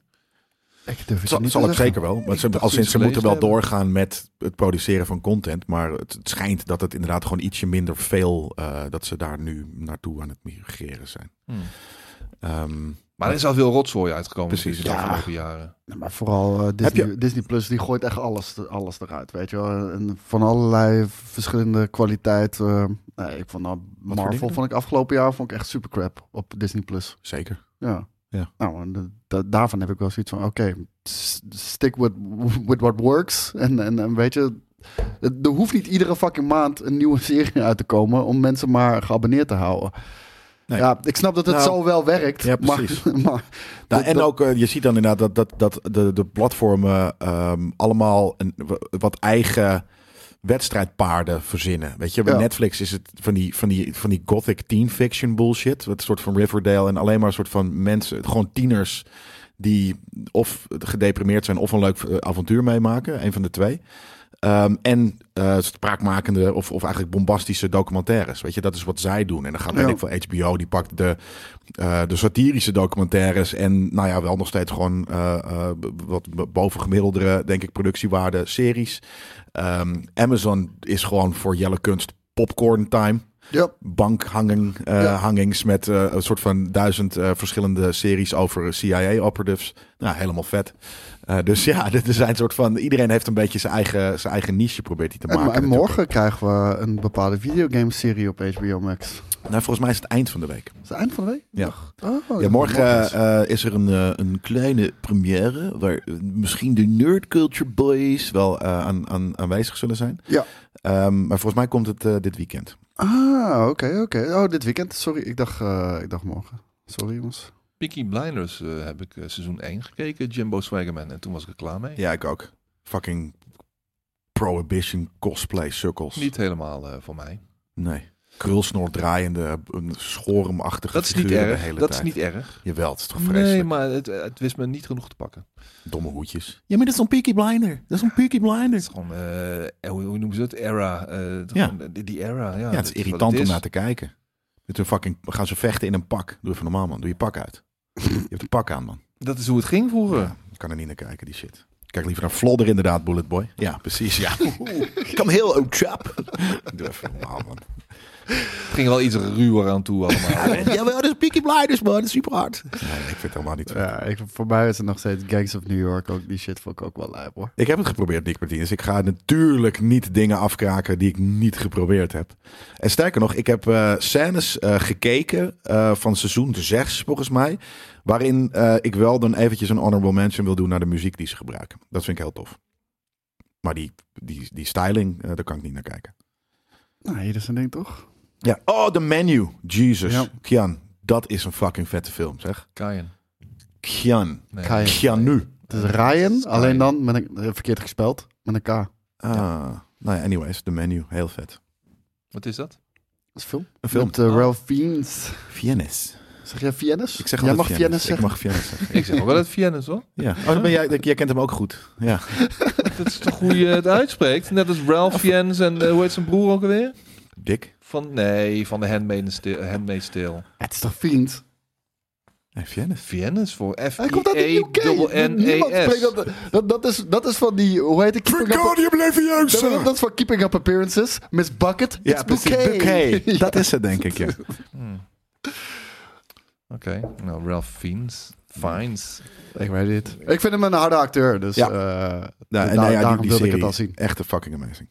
Ik durf het
Zal,
niet
zal
te
ik
zeggen.
zeker wel. Want
Ik
ze,
dacht
al sinds ze
iets
moeten wel
gelezen
doorgaan met het produceren van content. Maar het, het schijnt dat het inderdaad gewoon ietsje minder veel... eh, dat ze daar nu naartoe aan het migreren zijn.
Hmm.
Ehm,
Maar er is al veel rotzooi uitgekomen
Precies.
precies de
Ja.
afgelopen jaren.
Ja, maar vooral eh, Disney,
je-
Disney Plus, die gooit echt alles, alles eruit, weet je wel. En van allerlei verschillende kwaliteit. eh, nee, ik vond nou,
voor
Marvel
dingen?
vond ik afgelopen jaar vond ik echt super crap op Disney Plus.
zeker.
Ja.
Ja.
Nou, en de- da- daarvan heb ik wel zoiets van, oké, s- stick with, with what works. En, en, en weet je, het- er hoeft niet iedere fucking maand een nieuwe serie uit te komen om mensen maar geabonneerd te houden.
Nee.
Ja, ik snap dat het
Nou,
zo wel werkt.
ja,
maar-
precies.
Maar,
Nou,
dat-
en
dat-
ook, eh, je ziet dan inderdaad dat, dat, dat de, de platformen ehm, allemaal een, w- wat eigen wedstrijdpaarden verzinnen. Weet je, bij
Ja.
Netflix is het van die, van, die, van die gothic teen fiction bullshit. Wat soort van Riverdale en alleen maar een soort van mensen, gewoon tieners die of gedeprimeerd zijn of een leuk eh, avontuur meemaken. Een van de twee. Ehm, en eh, spraakmakende of, of eigenlijk bombastische documentaires. Weet je, dat is wat zij doen. En dan gaat
Ja.
weet ik veel HBO, die pakt de, eh, de satirische documentaires. En nou ja, wel nog steeds gewoon eh, eh, b- wat bovengemiddelde, denk ik, productiewaarde series. Ehm, Amazon is gewoon voor jelle kunst popcorn time.
Ja.
Bankhanging, eh,
Ja.
hangings met eh, een soort van duizend eh, verschillende series over eh, CIA-operatives. Nou, helemaal vet. Eh, dus ja, dit is een soort van. Iedereen heeft een beetje zijn eigen, zijn eigen niche, probeert hij te
En,
maken.
en
natuurlijk.
morgen krijgen we een bepaalde videogameserie op HBO Max.
Nou, volgens mij is het eind van de week.
Is het eind van de week?
Ja.
Dag. Oh,
Ja, morgen
is-
eh, eh, is er een, eh, een kleine première waar eh, misschien de Nerd Culture Boys wel eh, aan, aan, aanwezig zullen zijn.
Ja.
Ehm, maar volgens mij komt het eh, dit weekend.
Ah, oké, oké. Oh, dit weekend. Sorry, ik dacht, eh, ik dacht morgen. Sorry, jongens.
Peaky Blinders eh, heb ik eh, seizoen 1 gekeken, Jimbo Swaggerman. En toen was ik er klaar mee.
Ja, ik ook. Fucking prohibition cosplay sukkels.
Niet helemaal eh, voor mij.
Nee. Krulsnoor draaiende, een schorumachtige
Dat is niet
figuren de
erg.
hele
Dat is
tijd.
niet erg.
Jawel, het is toch vreselijk.
Nee, maar het, het wist me niet genoeg te pakken.
Domme hoedjes. Ja, maar dat is een Peaky Blinder. Dat is een Peaky
Het
Blinder.
is gewoon, eh, hoe, hoe noemen ze dat? Era. eh, het-
Ja.
gewoon, eh, die, die era, ja.
Ja, het is
dat wat
irritant om
is.
naar te kijken. Met een fucking, gaan ze vechten in een pak. Doe even normaal, man. Doe je pak uit. Je hebt een pak aan, man.
Dat is hoe het ging vroeger.
Ja, ik kan er niet naar kijken, die shit. Ik Kijk liever naar Flodder inderdaad, Bullet Boy. Ja, precies, ja. Kom heel oud chap. Doe even normaal, man.
Het ging wel iets ruwer aan toe allemaal.
Jawel, dat is Peaky Blinders, man. Dat is super hard. Nee, ik vind het helemaal niet
Ja, ik, voor mij is het nog steeds Gangs of New York. Ook die shit vond ik ook wel lijp, hoor.
Ik heb het geprobeerd, Nick Martinez. Ik ga natuurlijk niet dingen afkraken die ik niet geprobeerd heb. En sterker nog, ik heb eh scènes eh, gekeken eh, van seizoen 6, volgens mij. Waarin eh, ik wel dan eventjes een honorable mention wil doen naar de muziek die ze gebruiken. Dat vind ik heel tof. Maar die, die, die styling, eh, daar kan ik niet naar kijken.
Nou, hier is een ding, toch?
Ja. Oh, de menu. Jesus.
Ja.
Kian, dat is een fucking vette film, zeg.
Kaien.
Kian.
Nee.
Kaien.
Kianu.
Het is Ryan,
Sky.
alleen dan met een, eh, verkeerd gespeld. Met een K. Dat
Ah, nou ja, anyways, de menu. Heel vet.
Wat is dat?
is film.
Een film.
Met eh, Ralph Fiennes.
Viennes.
Zeg jij Fiennes?
Ik zeg
jij
altijd
mag Fiennes
Ik
zeggen.
mag Viennes zeggen.
Ik zeg ook wel dat het Viennes hoor.
Ja. Oh, dan ben jij, dat- jij kent hem ook goed. Ja.
Dat is toch hoe je het uitspreekt? Net als Ralph Fiennes en eh, hoe heet zijn broer ook alweer?
Dick.
Van, nee, van de Handmaid's Tale. Handmaid's Tale.
Het is toch Fiend?
Nee, Viennes.
Viennes voor f
Hij komt uit de
e
UK. Niemand spreekt dat, dat, dat, is, dat is van die, hoe heet het? Dat, dat- dat is van Keeping Up Appearances. Miss Bucket.
Ja,
it's
precies.
Bouquet.
Bouquet. Dat is het, denk ik, ja.
Hmm. Oké, nou Ralph Fiennes. Fiennes.
Ik weet het. Ik vind hem een harde acteur, dus
Ja.
ja.
Nou, en
daar-
nou ja, die,
daarom
die
wilde ik het
serie,
al zien.
Echt een fucking amazing.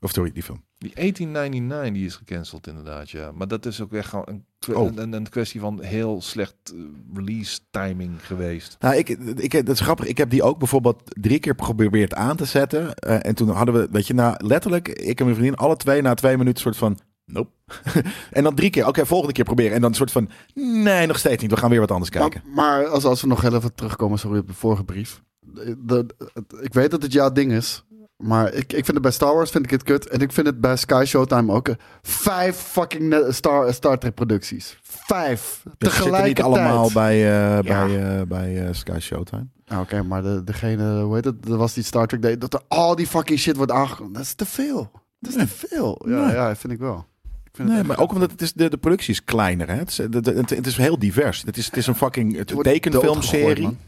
Of sorry, die film.
Die 1899 die is gecanceld inderdaad, ja. Maar dat is ook echt gewoon een, kwe-
Oh.
een, een, een kwestie van heel slecht eh, release timing geweest.
Nou, ik, ik, dat is grappig. Ik heb die ook bijvoorbeeld drie keer geprobeerd aan te zetten. Eh, en toen hadden we, weet je, nou, letterlijk, ik en mijn vriendin, alle twee na twee minuten soort van, nope. en dan drie keer, oké, volgende keer proberen. En dan een soort van, nee, nog steeds niet. We gaan weer wat anders kijken.
Maar, maar als, als we nog heel even terugkomen sorry, op de vorige brief. De- de- het- ik weet dat het jouw ding is. Maar ik, ik vind het bij Star Wars vind ik het kut. En ik vind het bij Sky Showtime ook. eh, Vijf fucking ne- Star, Star Trek producties. Vijf.
Ze zitten
tegelijkertijd.
niet allemaal bij,
Ja.
eh, bij, eh, bij eh, Sky Showtime.
Ah, Oké, maar de, degene, hoe heet het? Er was die Star Trek Day. Dat er al die fucking shit wordt aangekondigd. Dat is te veel. Dat is te veel. Ja,
Nee.
ja, vind ik wel. Ik vind
Nee,
het echt-
maar ook omdat het is, de, de productie is kleiner. Hè? Het, is, de- de- het, het is heel divers. Het is, het is een fucking
Het wordt doodgegooid,
tekenfilmserie.
man.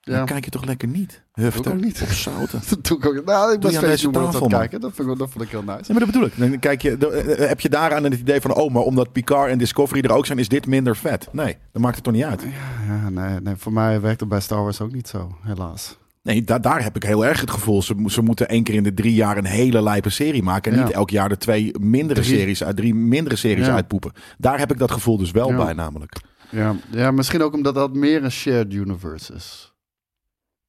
Dan
Ja.
kijk je toch lekker niet. Hufter.
ook niet.
Op zouten.
Dat doe ik ook. Nou, ik ben
Doe je aan
steeds
deze
humor aan
tafel,
het
man.
kijken. Dat vond, ik, dat vond ik heel nice.
Ja, maar dat bedoel ik. Dan kijk je, dan, eh, heb je daaraan het idee van... oh, maar omdat Picard en Discovery er ook zijn... is dit minder vet. Nee, dan maakt het toch niet uit.
Ja, nee, nee, voor mij werkt het bij Star Wars ook niet zo, helaas.
Nee, da- daar heb ik heel erg het gevoel. Ze, mo- ze moeten één keer in de drie jaar een hele lijpe serie maken... en
Ja.
niet elk jaar de twee mindere
Drie.
series uit... drie mindere series
Ja.
uitpoepen. Daar heb ik dat gevoel dus wel
Ja.
bij namelijk.
Ja, ja, misschien ook omdat dat meer een shared universe is.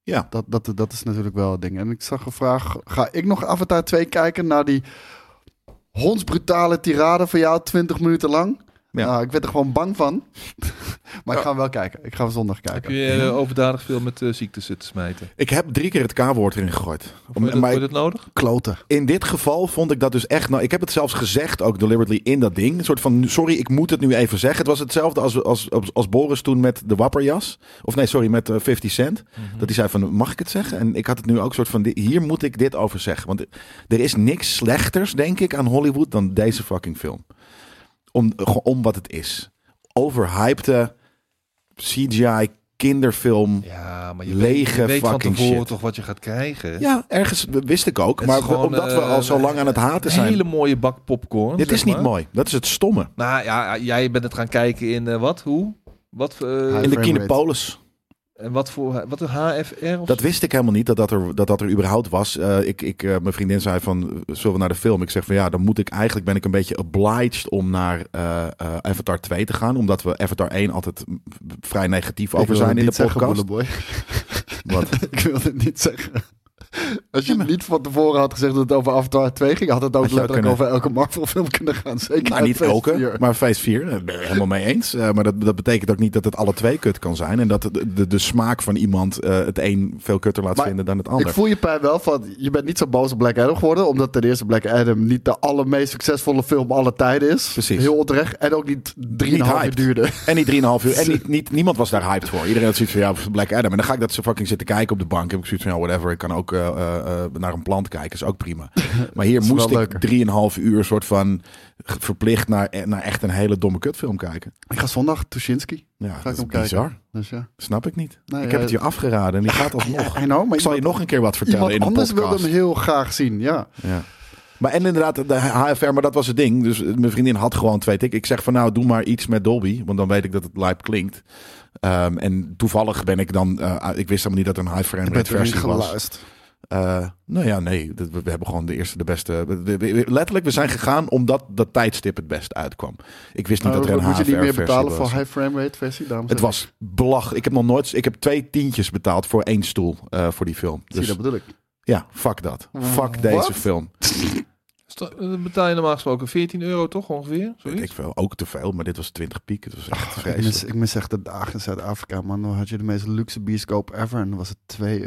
Ja.
Dat, dat, dat is natuurlijk wel het ding. En ik zag een vraag, ga ik nog Avatar 2 kijken naar die hondsbrutale tirade van jou 20 minuten lang?
Ja.
Nou, ik werd er gewoon bang van. maar ik
Ja.
ga hem wel kijken. Ik ga hem zondag
Heb
kijken.
je eh, overdadig veel met eh, ziektes zitten smijten?
Ik heb drie keer het K-woord erin gegooid.
Vond je dat,
maar
vond je dat nodig?
Kloten.
in dit geval vond ik dat dus echt... Nou, ik heb het zelfs gezegd, ook deliberately, in dat ding. Een soort van, sorry, ik moet het nu even zeggen. Het was hetzelfde als, als, als, als Boris toen met de wapperjas. Of nee, sorry, met eh, 50 Cent. Dat hij zei van, mag ik het zeggen? En ik had het nu ook soort van, di- hier moet ik dit over zeggen. Want er is niks slechters, denk ik, aan Hollywood dan deze fucking film. Om, gewoon om wat het is. Overhypte CGI kinderfilm.
Ja, maar je
je Lege
weet, je weet van
fucking
tevoren
shit.
toch wat je gaat krijgen.
Ja, ergens wist ik ook.
Het
Maar
is gewoon,
omdat we
eh,
al zo lang aan het haten
Een
zijn.
hele mooie bak popcorn.
Dit
zeg
is niet
maar.
mooi. Dat is het stomme.
Nou ja, jij bent het gaan kijken in eh, wat? Hoe? Wat, eh,
Hij-
In de
frame rate.
Kinepolis.
en wat voor wat een HFR? Of
Dat wist ik helemaal niet dat dat er, dat dat er überhaupt was. Eh, ik, ik, eh, mijn vriendin zei van, eh, zullen we naar de film? Ik zeg van ja, dan moet ik eigenlijk ben ik een beetje obliged om naar eh, eh, Avatar 2 te gaan. Omdat we Avatar 1 altijd mm, vrij negatief
Ik
over
wil
zijn
het
in de
niet zeggen,
podcast.
Bolleboy.
Wat?
ik wil het niet zeggen. Als je niet van tevoren had gezegd dat het over Avatar 2 ging, had het ook
Had je ook
letterlijk
kunnen.
over elke Marvel film kunnen gaan. Zeker
Nou, niet
uit
elke,
vier.
maar Phase 4. Daar ben ik helemaal mee eens. Eh, maar dat, dat betekent ook niet dat het alle twee kut kan zijn. En dat de, de, de smaak van iemand eh, het een veel kutter laat
Maar
vinden dan het
Ik
ander.
voel je pijn wel van, je bent niet zo boos op Black Adam geworden, omdat ten eerste Black Adam niet de allermeest succesvolle film aller tijden is.
Precies.
Heel onterecht. En ook niet drieënhalf uur
hyped.
duurde.
En die 3,5 uur. En niet, niet, niemand was daar hyped voor. Iedereen had zoiets van, ja, Black Adam. En dan ga ik dat ze fucking zitten kijken op de bank. Heb ik zoiets van, ja, whatever. Ik kan ook eh, eh, eh, naar een plant kijken. Is ook prima. Maar hier
is
moest
wel
ik 3,5 uur soort van ge- verplicht naar, eh, naar echt een hele domme kutfilm kijken.
Ik ga zondag Tuschinski.
Ja, dat is
hem
bizar.
kijken. Dus ja.
Snap ik niet.
Nee,
ik
ja,
heb het je afgeraden en die gaat alsnog.
I know, maar
Ik zal je
iemand-
nog een keer wat vertellen in
iemand
een
anders
podcast.
wilde hem heel graag zien, ja.
Ja. Maar en inderdaad, de HFR, maar dat was het ding. Dus eh, mijn vriendin had gewoon twee tikken. Ik zeg van nou, doe maar iets met Dolby, want dan weet ik dat het live klinkt. Ehm, en toevallig ben ik dan, eh, ik wist helemaal niet dat er een high frame rate versie was. Eh, nou ja, nee, dat- we, we hebben gewoon de eerste, de beste. we- we- we- letterlijk, we zijn gegaan omdat dat tijdstip het best uitkwam. Ik wist niet
Nou,
dat er een
dan moet je niet meer
HFR-versie
betalen
was.
voor high frame rate versie, dames en
het was belach. Ik heb nog nooit, ik heb twee tientjes betaald voor één stoel eh, voor die film.
heren. Zie je,
Dus
dat bedoel ik.
ja, fuck dat. Fuck
Wat?
deze film.
Sto- eh, betaal je normaal gesproken 14 euro toch ongeveer? Zoiets?
Weet ik veel, ook te veel, maar dit was 20 piek. Het was echt
Ik
vreselijk.
mis, ik mis echt de dagen in Zuid-Afrika, man. Dan had je de meest luxe bioscoop ever. En dan was het 2,50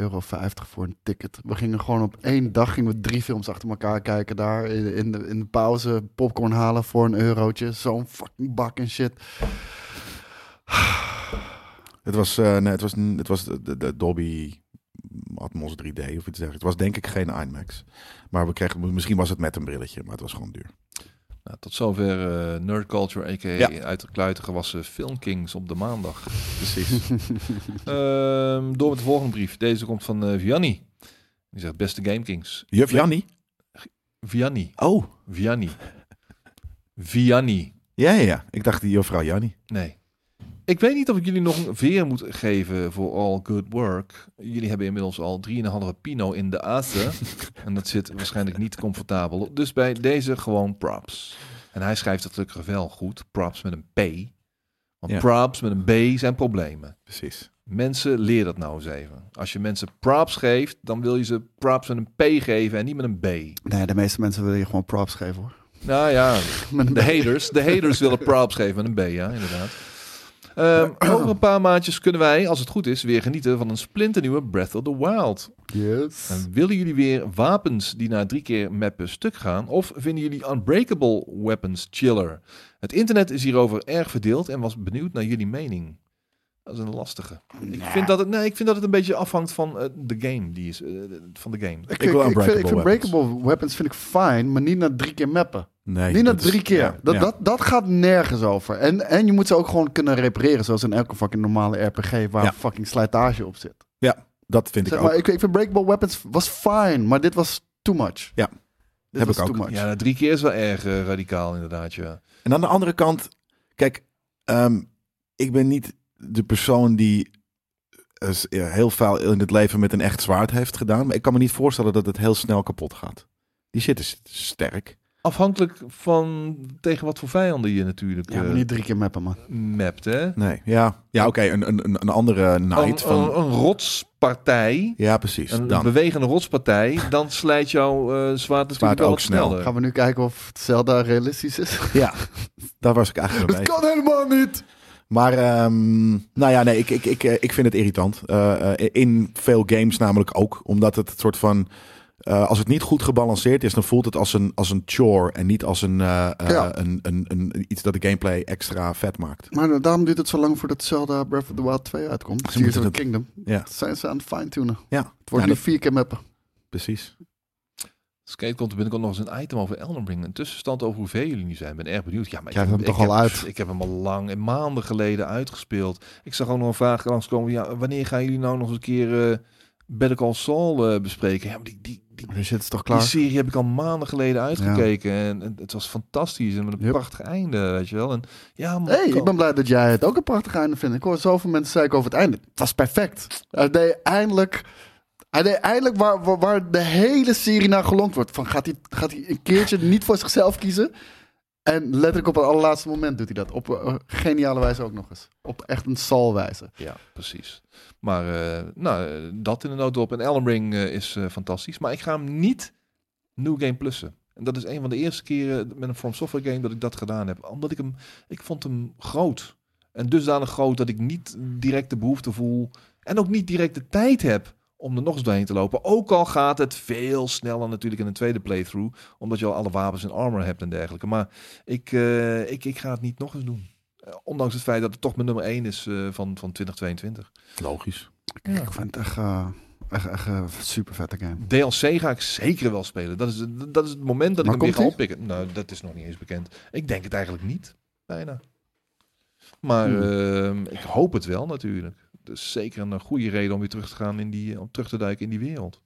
euro voor een ticket. We gingen gewoon op één dag gingen we drie films achter elkaar kijken daar. In, in, de, in de pauze popcorn halen voor een eurotje. Zo'n fucking bak en shit.
Het was, eh, nee, het was, n- het was de, de, de Dolby Atmos 3D of iets dergelijks. Het was denk ik geen IMAX. Maar we kregen, misschien was het met een brilletje, maar het was gewoon duur.
Nou, tot zover eh, Nerd Culture, a.k.a.
Ja.
uit de kluiten gewassen Film Kings op de maandag.
Precies.
Eh,
Ehm, door met de volgende brief. Deze komt van eh, Vianni. Die zegt, beste Game Kings.
Juf Jannie?
Vianni.
Oh,
Vianni. Vianni.
ja, ja, ja. Ik dacht die juffrouw Jannie.
Nee. Ik weet niet of ik jullie nog een veer moet geven voor all good work. Jullie hebben inmiddels al 3,5 pino in de azen. en dat zit waarschijnlijk niet comfortabel. op. Dus bij deze gewoon props. En hij schrijft het gelukkig wel goed. Props met een P. Want
Ja.
props met een B zijn problemen.
Precies.
Mensen, leer dat nou eens even. Als je mensen props geeft, dan wil je ze props met een P geven en niet met een B.
Nee, de meeste mensen willen je gewoon props geven, hoor.
Nou ja,
Met een
de haters. De haters willen props geven met een B, ja, inderdaad. Ehm, over een paar maandjes kunnen wij, als het goed is, weer genieten van een splinternieuwe Breath of the Wild.
Yes.
En willen jullie weer wapens die na drie keer mappen stuk gaan? Of vinden jullie Unbreakable Weapons chiller? Het internet is hierover erg verdeeld en was benieuwd naar jullie mening. Dat is een lastige. Ik,
Nou.
vind dat het, nee, ik vind dat het een beetje afhangt van eh, de game. Die is, eh, van de game.
Ik,
wil
ik- ik vind- ik
unbreakable
vind, breakable weapons vind ik fijn, maar niet na drie keer mappen.
Nee.
Niet na
dat is-
drie keer.
ja,
dat,
ja.
Dat, dat gaat nergens over. En, en je moet ze ook gewoon kunnen repareren, zoals in elke fucking normale RPG waar
Ja.
fucking slijtage op zit.
Dat vind ik
Zeg
ook.
maar, ik, ik vind Breakable Weapons was fine, maar dit was too much.
Ja.
Dit
Heb
was
ik ook.
too much.
Ja, na drie keer is wel erg eh, radicaal inderdaad, ja.
En aan de andere kant, kijk, ehm, ik ben niet de persoon die eh, s- eh, heel veel in het leven met een echt zwaard heeft gedaan. Maar ik kan me niet voorstellen dat het heel snel kapot gaat. Die shit is sterk.
afhankelijk van tegen wat voor vijanden je natuurlijk
Ja, maar
eh,
niet drie keer mappen, man.
mapt. Hè?
Nee, ja. Ja, oké, een, een, een een andere
Een,
night Nou, van...
een, een rotspartij,
ja, precies.
oh. een
dan.
bewegende rotspartij, dan slijt jouw eh zwaard natuurlijk wel
ook
wat
snel.
sneller.
Gaan we nu kijken of Zelda realistisch is?
Ja, daar was ik eigenlijk mee.
Dat kan helemaal niet!
Maar ehm, nou ja, nee, ik, ik, ik, eh, ik vind het irritant. Eh, eh, in veel games namelijk ook. Omdat het het soort van. eh, als het niet goed gebalanceerd is, dan voelt het als een, als een chore. En niet als een, eh, eh,
Ja.
een, een, een, iets dat de gameplay extra vet maakt.
Maar eh, daarom duurt het zo lang voordat Zelda Breath of the Wild 2 uitkomt.
Ze
Tears of
moeten
the
dat-
Kingdom.
Ja.
Dat zijn ze aan het fine-tunen.
Ja,
Het wordt
Ja,
nu vier keer mappen.
precies.
Skate komt er binnenkort nog eens een item over Elden Ring. Een tussenstand over hoeveel jullie nu zijn. Ik ben erg benieuwd. Ja, maar
Jij hebt hem toch
heb,
al uit?
Ik heb hem al lang, eh, maanden geleden uitgespeeld. Ik zag ook nog een vraag langskomen. Ja, wanneer gaan jullie nou nog eens een keer eh Better Call Saul eh, bespreken? Ja, maar die, die, die,
Dus het is toch
die
klaar?
serie heb ik al maanden geleden uitgekeken. En, en het was fantastisch. En met een
Yep.
prachtig einde, weet je wel. En, ja, man,
hey,
kan-
ik ben blij dat jij het ook een prachtig einde vindt. Ik hoor zoveel mensen zeiken over het einde. Het was perfect. Hij deed eindelijk, hij deed eindelijk waar, waar, waar de hele serie naar gelonkt wordt. Van, gaat, hij, gaat hij een keertje niet voor zichzelf kiezen? En letterlijk op het allerlaatste moment doet hij dat. Op eh, geniale wijze ook nog eens. Op echt een salwijze.
Ja, precies. Maar eh, nou, eh, dat in de notendop. En Elden Ring eh, is eh, fantastisch. Maar ik ga hem niet New Game plussen. En dat is een van de eerste keren met een From Software game dat ik dat gedaan heb. Omdat ik hem, ik vond hem groot. En dusdanig groot dat ik niet direct de behoefte voel. En ook niet direct de tijd heb om er nog eens doorheen te lopen. Ook al gaat het veel sneller natuurlijk in een tweede playthrough. Omdat je al alle wapens en armor hebt en dergelijke. Maar ik, eh, ik, ik ga het niet nog eens doen. Eh, ondanks het feit dat het toch mijn nummer 1 is eh, van, van 2022.
Logisch.
Ja.
Ik vind het echt, eh, echt, echt een super vette game.
DLC ga ik zeker wel spelen. Dat is, dat is het moment dat
Maar
ik hem weer ga
komt
oppikken. Nou, dat is nog niet eens bekend. Ik denk het eigenlijk niet. Bijna. Maar
Hmm.
ehm, ik hoop het wel natuurlijk. Dat is zeker een eh, goede reden om weer terug te gaan in die, om terug te duiken in die wereld.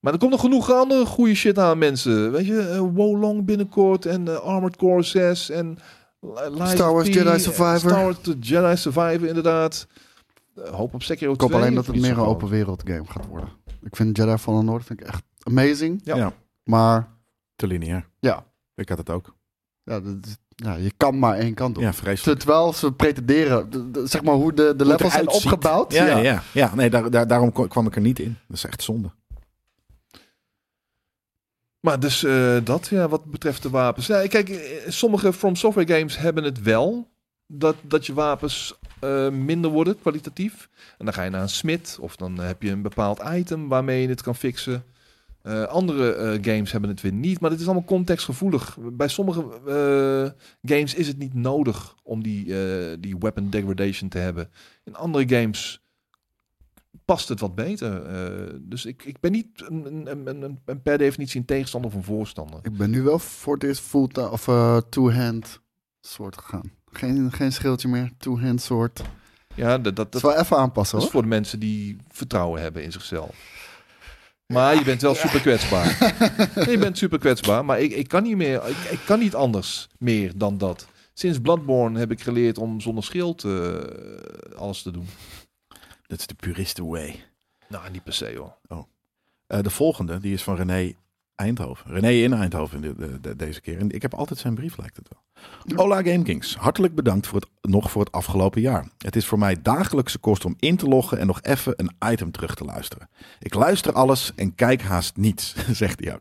Maar er komt nog genoeg andere goede shit aan, mensen. Weet je, eh, Wolong binnenkort en eh, Armored Core 6 en Li- Lies
Star
of
Wars
P,
Jedi
eh,
Survivor.
Star Wars The Jedi Survivor, inderdaad. Eh, hoop op Sekiro
Ik hoop
2
alleen dat
of
het
iets
meer een
gewoon.
open wereld game gaat worden. Ik vind Jedi Fallen Order vind ik echt amazing.
Ja.
Ja.
Maar
Te lineair.
Ja.
Ik had het ook.
ja, dat is- ja, je kan maar één kant op.
Ja, vreselijk.
Terwijl ze pretenderen, de- de- zeg maar hoe de, de levels zijn
eruit ziet.
opgebouwd.
Ja, ja. ja. ja nee, daar, daar, daarom ko- kwam ik er niet in. Dat is echt zonde.
Maar dus eh, dat, ja, wat betreft de wapens. Ja, kijk, eh, sommige From Software games hebben het wel. Dat, dat je wapens eh, minder worden, kwalitatief. En dan ga je naar een smid. Of dan heb je een bepaald item waarmee je het kan fixen. Eh, andere eh, games hebben het weer niet. Maar dit is allemaal contextgevoelig. Bij sommige eh, games is het niet nodig om die, eh, die weapon degradation te hebben. In andere games past het wat beter. Eh, dus ik, ik ben niet een, een, een, een, een per definitie een tegenstander of een voorstander.
Ik ben nu wel voor het eerst full ta- of eh, two-hand soort gegaan. Geen, geen schildje meer, two-hand soort. Dat,
Ja, dat, dat,
is
dat,
wel even aanpassen
is
hoor.
Dus voor de mensen die vertrouwen hebben in zichzelf. Maar je bent wel super kwetsbaar. Nee, je bent super kwetsbaar, maar ik, ik kan niet meer. Ik, ik kan niet anders meer dan dat. Sinds Bloodborne heb ik geleerd om zonder schild eh, alles te doen.
Dat is de puriste way.
Nou, niet per se hoor.
Eh, de volgende, die is van René Eindhoven. René in Eindhoven de- de- de- deze keer. En ik heb altijd zijn brief, lijkt het wel. Hola GameKings, hartelijk bedankt voor het, nog voor het afgelopen jaar. Het is voor mij dagelijkse kost om in te loggen en nog even een item terug te luisteren. Ik luister alles en kijk haast niets, zegt hij ook.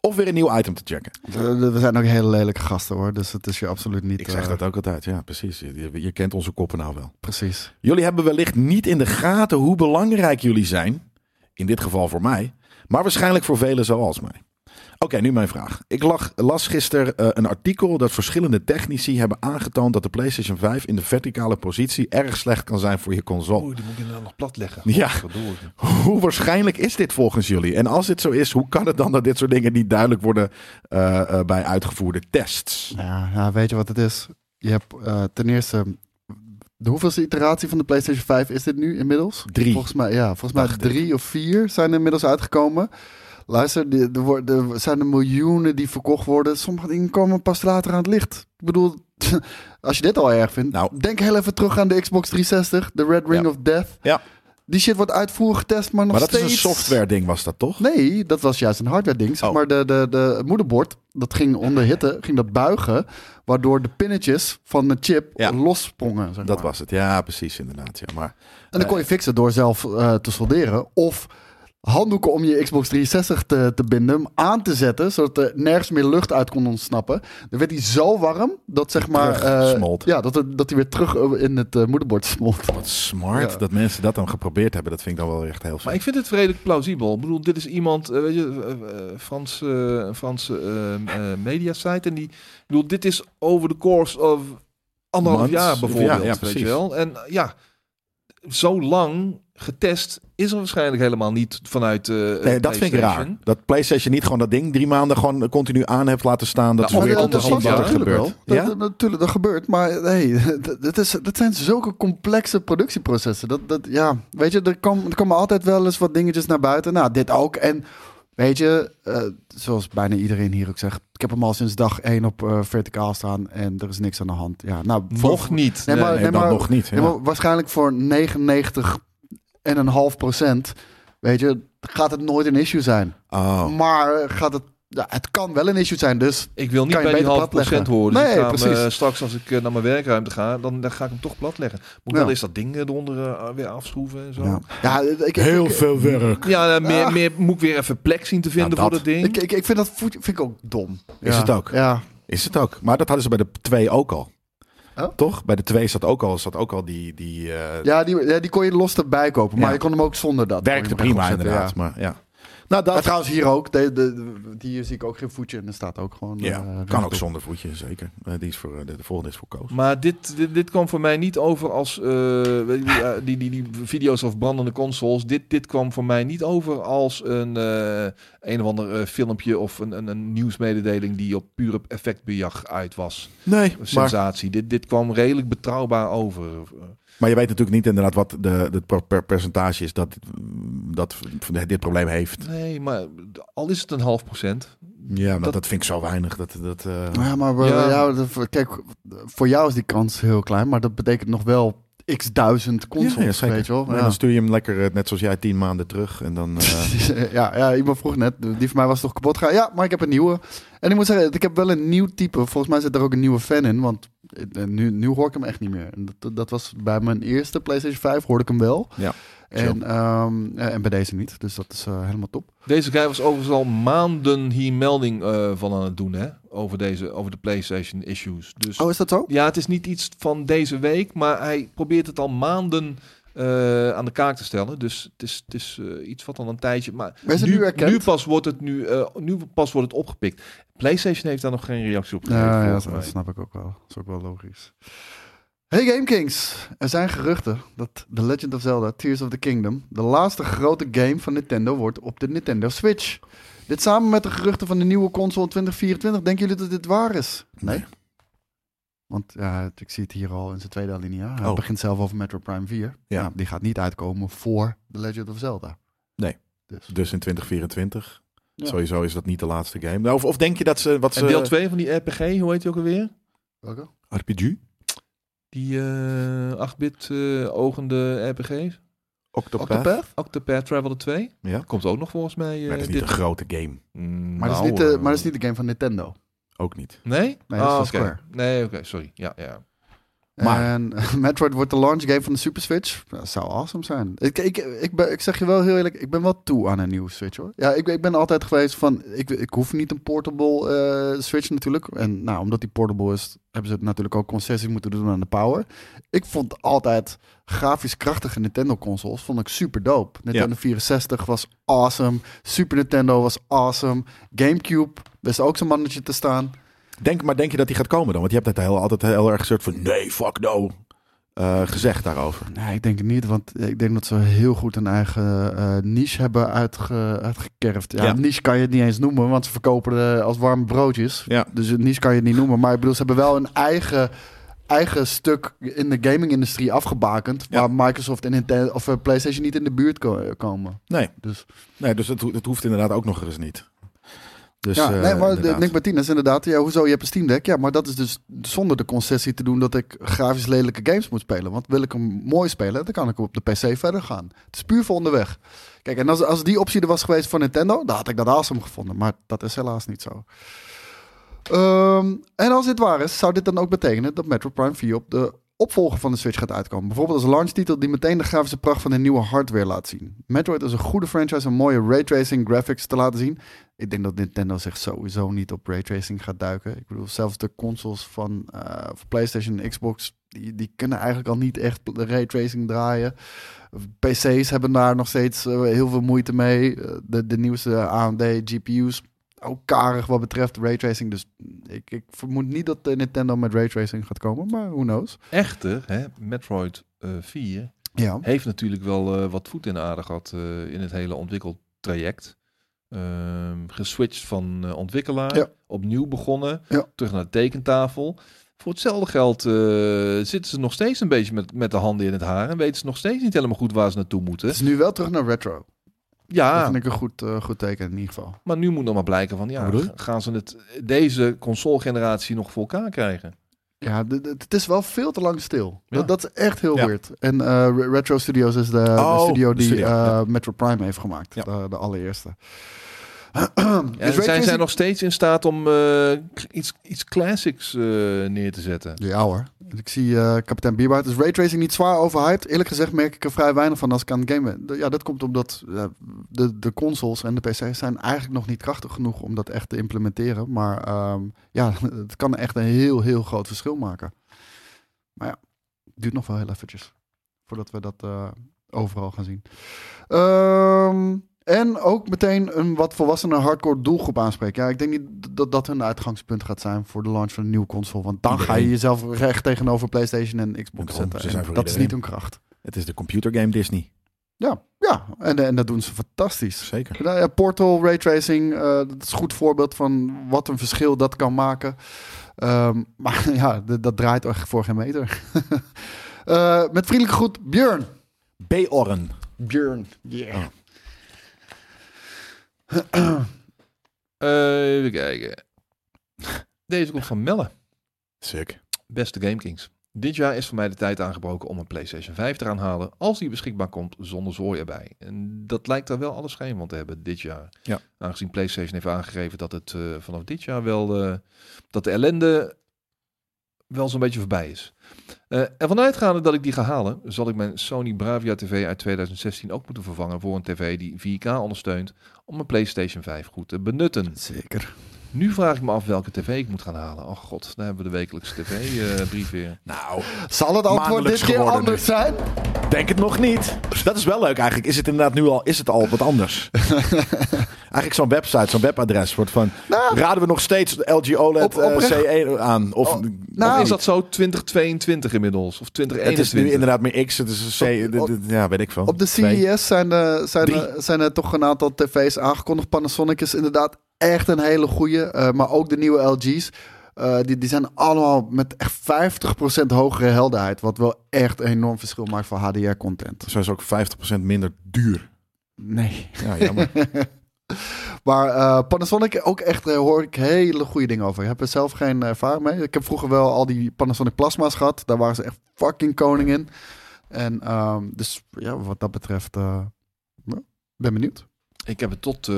Of weer een nieuw item te checken.
We we zijn ook hele lelijke gasten hoor, dus het is je absoluut niet.
Ik zeg
eh,
dat ook altijd, ja precies. Je, je- je kent onze koppen nou wel.
Precies.
Jullie hebben wellicht niet in de gaten hoe belangrijk jullie zijn. In dit geval voor mij, maar waarschijnlijk voor velen zoals mij. Oké, nu mijn vraag. Ik lag, las gisteren eh, een artikel dat verschillende technici hebben aangetoond dat de PlayStation 5 in de verticale positie erg slecht kan zijn voor je console.
Oei, die moet ik inderdaad nog plat leggen.
Ja.
Verdorie.
Hoe waarschijnlijk is dit volgens jullie? En als dit zo is, hoe kan het dan dat dit soort dingen niet duidelijk worden eh, eh, bij uitgevoerde tests?
Ja, ja, weet je wat het is? Je hebt eh, ten eerste, de hoeveelste iteratie van de PlayStation 5 is dit nu inmiddels?
Drie.
Volgens mij, ja, volgens mij
Dacht ik.
drie of vier zijn er inmiddels uitgekomen. Luister, die- er wor- er zijn er miljoenen die verkocht worden. Sommige dingen komen pas later aan het licht. Ik bedoel, als je dit al erg vindt,
Nou.
denk heel even terug aan de Xbox 360, de Red Ring
Ja.
of Death.
Ja.
Die shit wordt uitvoerig getest, maar nog
Maar dat
steeds...
is een software ding, was dat toch?
Nee, dat was juist een hardware ding. Zeg
Oh.
maar de, de, de het moederbord, dat ging onder hitte, ging dat buigen. Waardoor de pinnetjes van de chip
Ja.
los sprongen. Zeg
Dat
maar.
was het, ja, precies, inderdaad. Ja. Maar
En dan kon je fixen door zelf eh, te solderen. Of handdoeken om je Xbox 360 te, te binden, hem aan te zetten, zodat er nergens meer lucht uit kon ontsnappen. Dan werd hij zo warm dat zeg maar.
Terug
eh,
smolt.
ja, dat, het- dat hij weer terug eh, in het eh, moederbord smolt.
wat smart
Ja.
dat mensen dat dan geprobeerd hebben. Dat vind ik dan wel echt heel
Maar
fijn.
ik vind het redelijk plausibel. Ik bedoel, dit is iemand, eh, weet je, eh, eh, Frans, eh, een Franse eh, eh, mediasite. En die, ik bedoel, dit is over de course of anderhalf
Months.
jaar bijvoorbeeld.
Ja, ja,
weet
precies.
je wel. En eh, ja, zo lang getest is er waarschijnlijk helemaal niet vanuit eh,
Nee, dat vind ik
PlayStation.
raar. Dat PlayStation niet gewoon dat ding drie maanden gewoon continu aan heeft laten staan. Dat
Nou,
ze
om
weer
weer
om te
te
zien
zien,
wat er
ja.
gebeurt.
Dat,
Ja?
dat- natuurlijk, dat gebeurt. Maar hey, dat, dat is, dat zijn zulke complexe productieprocessen. Dat, dat, ja, weet je, er komen er komen altijd wel eens wat dingetjes naar buiten. Nou, dit ook. En weet je, eh, zoals bijna iedereen hier ook zegt... ik heb hem al sinds dag één op eh, verticaal staan en er is niks aan de hand. Ja, nou, voor-
Nog niet.
Nee, maar-
Nee, dan
maar-
nog niet.
ja,
ja.
maar waarschijnlijk voor 99,5 procent, weet je, gaat het nooit een issue zijn.
Oh.
Maar eh, gaat het... Ja, het kan wel een issue zijn, dus
Ik wil niet
Kan je
bij die
beter
half procent
platleggen.
horen. Dus
Nee,
ik ga hem,
precies.
eh, straks als ik eh, naar mijn werkruimte ga, dan, dan ga ik hem toch platleggen. Moet
Ja.
wel eens dat ding eh, eronder eh, weer afschroeven en zo.
Ja,
Ja,
ja ik,
Heel
ik,
veel werk.
eh, meer, meer moet ik weer even plek zien te vinden
Nou,
voor
dat.
dat ding.
Ik, ik, ik vind dat voet- vind ik ook dom.
Is
Ja.
het ook?
Ja.
Is het ook. Maar dat hadden ze bij de 2 ook al.
Oh.
Toch? Bij de 2 zat ook al, zat ook al die... die eh,
Ja, die, ja, die kon je los erbij kopen. Maar
Ja.
je kon hem ook zonder dat.
werkte
kon je hem
prima
rechtop zetten,
inderdaad.
ja.
Maar, ja. Nou, dat
Maar trouwens hier ook. De, de, de- hier zie ik ook geen voetje. En er staat ook gewoon...
ja,
eh,
kan ook
rechtop.
zonder voetje, zeker. Eh, die is voor, eh, de, de volgende is voor Koos.
Maar dit, dit, dit kwam voor mij niet over als eh, weet je, eh, die, die, die video's of brandende consoles. Dit, dit kwam voor mij niet over als een, eh, een of ander eh, filmpje of een, een, een nieuwsmededeling die op puur effectbejag uit was.
Nee, maar,
Sensatie. Dit, dit kwam redelijk betrouwbaar over.
maar je weet natuurlijk niet inderdaad wat de, de pro- per- percentage is dat, dat dit probleem heeft.
Nee, maar al is het een half procent.
Ja, maar dat,
Dat-
vind ik zo weinig. Dat, dat, eh,
Ja, maar we-
Ja.
ja, de- kijk, voor jou is die kans heel klein. Maar dat betekent nog wel x duizend
Ja, ja,
consoles,
zeker.
weet je wel.
Nee,
Ja.
Dan stuur je hem lekker, eh, net zoals jij, tien maanden terug. En dan, eh,
ja, ja, iemand vroeg net, die van mij was toch kapot gegaan. Ja, maar ik heb een nieuwe. En ik moet zeggen, ik heb wel een nieuw type. Volgens mij zit er ook een nieuwe fan in, want eh, nu, nu hoor ik hem echt niet meer. En Dat, dat was bij mijn eerste PlayStation 5 hoorde ik hem wel.
Ja,
En, ehm, eh, en bij deze niet, dus dat is eh, helemaal top.
Deze guy was overigens al maanden hier melding eh, van aan het doen, hè? Over, deze, over de PlayStation issues. Dus
Oh, is dat zo?
ja, het is niet iets van deze week, maar hij probeert het al maanden eh, aan de kaak te stellen. Dus het is, het is eh, iets wat al een tijdje. Maar
Maar is het nu erkend?
pas wordt het nu, eh, nu pas wordt het opgepikt. PlayStation heeft daar nog geen reactie op gegeven.
Ja, ja,
volgens
dat, dat
mij.
snap ik ook wel. Dat is ook wel logisch. Hey GameKings, er zijn geruchten dat The Legend of Zelda Tears of the Kingdom de laatste grote game van Nintendo wordt op de Nintendo Switch. Dit samen met de geruchten van de nieuwe console in 2024. Denken jullie dat dit waar is?
Nee.
Want ja, het- ik zie het hier al in zijn tweede alinea. Hij
Oh.
begint zelf over Metro Prime 4.
Ja.
Ja. die gaat niet uitkomen voor The Legend of Zelda.
Nee.
Dus.
dus in 2024.
Ja.
Sowieso is dat niet de laatste game. Nou, Of, of denk je dat ze... Wat ze
En deel 2 van die RPG, hoe heet die ook alweer?
Welke?
RPG?
Die eh 8-bit eh, ogende RPG's?
Octopath?
Octopath?
Octopath Traveler 2.
Ja.
Komt ook nog volgens mij. eh,
Maar dat is niet
dit...
een grote game.
Mm,
Maar, dat
nou,
is niet, de-
eh,
maar dat is niet de game van Nintendo.
Ook niet.
Nee?
Nee, dat is
Ah,
van
oké.
Square.
Nee, oké, sorry. Ja, ja.
Maar.
Maar-
En eh, Metroid wordt de launch game van de Super Switch. Dat zou awesome zijn. Ik, ik, ik, ben, ik zeg je wel heel eerlijk, ik ben wel toe aan een nieuwe Switch hoor. Ja, ik, ik ben altijd geweest van, ik, ik hoef niet een portable eh, Switch natuurlijk. En nou, omdat die portable is, hebben ze natuurlijk ook concessies moeten doen aan de power. Ik vond altijd grafisch krachtige Nintendo consoles, vond ik super dope. Nintendo 64 was awesome, Super Nintendo was awesome, Gamecube wist ook zijn mannetje te staan.
Denk, maar denk je dat die gaat komen dan? Want je hebt het heel, altijd heel erg soort van... Nee, fuck no. eh, gezegd daarover.
Nee, ik denk het niet, want ik denk dat ze heel goed een eigen eh, niche hebben uitge, uitgekerfd. Ja,
Ja.
niche kan je het niet eens noemen, want ze verkopen eh, als warme broodjes.
Ja.
Dus een niche kan je het niet noemen. Maar ik bedoel, ze hebben wel een eigen, eigen stuk in de gaming-industrie afgebakend...
Ja.
waar Microsoft en Nintendo, of eh, PlayStation niet in de buurt ko- komen.
Nee.
Dus
Nee, dus het, ho- het hoeft inderdaad ook nog eens niet. Dus,
ja,
eh,
nee, maar de-
inderdaad.
Nick Martinez, inderdaad. Ja, hoezo? Je hebt een Steam Deck. Ja, maar dat is dus zonder de concessie te doen dat ik grafisch lelijke games moet spelen. Want wil ik hem mooi spelen, dan kan ik op de PC verder gaan. Het is puur voor onderweg. Kijk, en als, als die optie er was geweest voor Nintendo, dan had ik dat awesome gevonden. Maar dat is helaas niet zo. Ehm, en als dit waar is, zou dit dan ook betekenen dat Metro Prime 4 op de opvolger van de Switch gaat uitkomen. Bijvoorbeeld als launchtitel die meteen de grafische pracht van de nieuwe hardware laat zien. Metroid is een goede franchise om mooie raytracing graphics te laten zien. Ik denk dat Nintendo zich sowieso niet op raytracing gaat duiken. Ik bedoel, zelfs de consoles van eh, van PlayStation en Xbox, die, die kunnen eigenlijk al niet echt raytracing draaien. PC's hebben daar nog steeds eh, heel veel moeite mee. Eh, de, de nieuwste AMD GPU's, ook karig wat betreft raytracing. Dus ik, ik vermoed niet dat eh, Nintendo met raytracing gaat komen, maar who knows.
Echter, hè, Metroid eh 4
Ja.
heeft natuurlijk wel eh, wat voet in de aarde gehad eh, in het hele ontwikkeltraject. Ehm, geswitcht van eh, ontwikkelaar,
Ja.
opnieuw begonnen,
Ja.
terug naar de tekentafel. Voor hetzelfde geld eh, zitten ze nog steeds een beetje met, met de handen in het haar en weten ze nog steeds niet helemaal goed waar ze naartoe moeten.
Het is Dus nu wel terug naar retro. Dat
Ja,
vind ik een goed, eh, goed teken in ieder geval.
maar nu moet nog maar blijken van
Wat
ja,
bedoel je?
g- gaan ze het deze console-generatie nog voor elkaar krijgen?
Dus Ja, d- d- het is wel veel te lang stil.
Ja.
Dat, dat is echt heel
Ja.
weird. En eh, Re- Retro Studios is de, de
Oh,
studio
de
die
studio,
eh,
ja.
Metro Prime heeft gemaakt.
Ja.
De, de allereerste. Dus
Ja, en zijn zij nog steeds in staat om eh, k- iets, iets classics eh, neer te zetten?
Ja hoor. Ik zie eh, kapitein Bierbaard. Is raytracing niet zwaar overhyped? Eerlijk gezegd merk ik er vrij weinig van als ik aan het gamen ben. De- Ja, dat komt omdat eh, de, de consoles en de PC's zijn eigenlijk nog niet krachtig genoeg om dat echt te implementeren. Maar ehm, ja, het kan echt een heel, heel groot verschil maken. Maar ja, het duurt nog wel heel eventjes voordat we dat eh, overal gaan zien. Ehm, en ook meteen een wat volwassener hardcore doelgroep aanspreken. Ja, ik denk niet dat dat hun uitgangspunt gaat zijn voor de launch van een nieuwe console. Want dan ga je
Iedereen.
jezelf recht tegenover PlayStation en Xbox
Daarom,
zetten.
ze
En
zijn voor
dat is
iedereen.
niet hun kracht.
Het is de computergame Disney.
Ja, ja. En, en dat doen ze fantastisch.
Zeker.
Nou ja, Portal, raytracing, eh dat is een goed voorbeeld van wat een verschil dat kan maken. Ehm, maar ja, d- dat draait echt voor geen meter. Eh, met vriendelijke groet, Björn.
Beorren.
Björn, Ah.
Eh, even kijken. Deze komt van Melle.
Sick.
Beste GameKings. Dit jaar is voor mij de tijd aangebroken om een PlayStation 5 te gaan halen. Als die beschikbaar komt zonder zooi erbij. En dat lijkt daar wel alles schijn van te hebben dit jaar.
Ja.
Aangezien PlayStation heeft aangegeven dat het eh, vanaf dit jaar wel. eh, dat de ellende wel zo'n beetje voorbij is. Eh en vanuitgaande dat ik die ga halen, zal ik mijn Sony Bravia TV uit 2016 ook moeten vervangen voor een TV die 4K ondersteunt. om mijn PlayStation 5 goed te benutten.
Zeker.
Nu vraag ik me af welke tv ik moet gaan halen. Oh god, daar hebben we de wekelijkse tv-brief weer.
Nou,
Zal het antwoord
Maandelijks
dit keer
geworden
anders zijn?
denk het nog niet. Dat is wel leuk eigenlijk. Is het inderdaad nu al, is het al wat anders? eigenlijk zo'n website, zo'n webadres wordt van...
Nou.
raden we nog steeds LG OLED
Op- oprecht.
eh, C1 aan? Of,
Oh,
of
nou,
is
niet?
dat zo 2022 inmiddels? Of
het is nu
2021?
inderdaad meer X, het is een C,
Op- op-
dit- dit- ja, weet ik veel.
Op de E-
Twee.
CES zijn, de, zijn,
Drie.
er- zijn er toch een aantal tv's aangekondigd. Panasonic is inderdaad echt een hele goeie. eh, maar ook de nieuwe LG's. eh, die, die zijn allemaal met echt 50% hogere helderheid. Wat wel echt een enorm verschil maakt voor HDR-content.
Zo is ook 50% minder duur.
Nee.
Ja, jammer.
Maar eh, Panasonic ook echt eh, hoor ik hele goede dingen over. Ik heb er zelf geen ervaring mee. Ik heb vroeger wel al die Panasonic plasma's gehad. Daar waren ze echt fucking koning in. En ehm, dus ja, wat dat betreft eh, nou, ben benieuwd.
Ik heb het tot eh,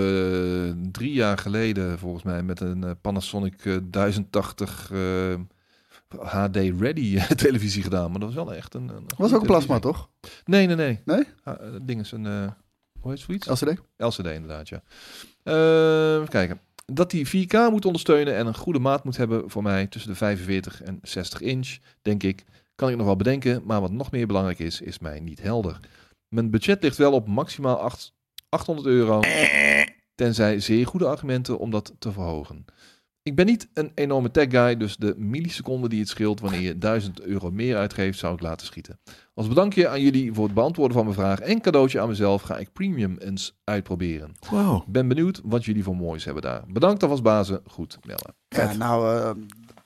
drie jaar geleden volgens mij met een eh, Panasonic eh, 1080 eh, HD Ready eh, televisie gedaan. Maar dat was wel echt een... een
Was
goede
ook een plasma
televisie.
toch?
Nee, nee, nee.
Nee?
Ah, eh, dat ding is een... eh, hoe heet zoiets?
LCD?
LCD inderdaad, ja. Eh, even kijken. Dat die 4K moet ondersteunen en een goede maat moet hebben voor mij tussen de 45 en 60 inch, denk ik. Kan ik nog wel bedenken, maar wat nog meer belangrijk is, is mij niet helder. Mijn budget ligt wel op maximaal 8, 800 euro, tenzij zeer goede argumenten om dat te verhogen. Ik ben niet een enorme tech guy, dus de milliseconden die het scheelt wanneer je 1000 euro meer uitgeeft, zou ik laten schieten. Als bedankje aan jullie voor het beantwoorden van mijn vraag en cadeautje aan mezelf ga ik Premium eens uitproberen.
Wow.
Ben benieuwd wat jullie voor moois hebben daar. Bedankt alvast bazen. Goed, Melle.
Ja, nou, eh,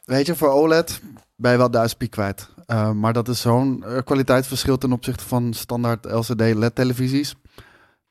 weet je, voor OLED ben je wel 1000 piek kwijt. Eh, maar dat is zo'n eh, kwaliteitsverschil ten opzichte van standaard LCD LED-televisies.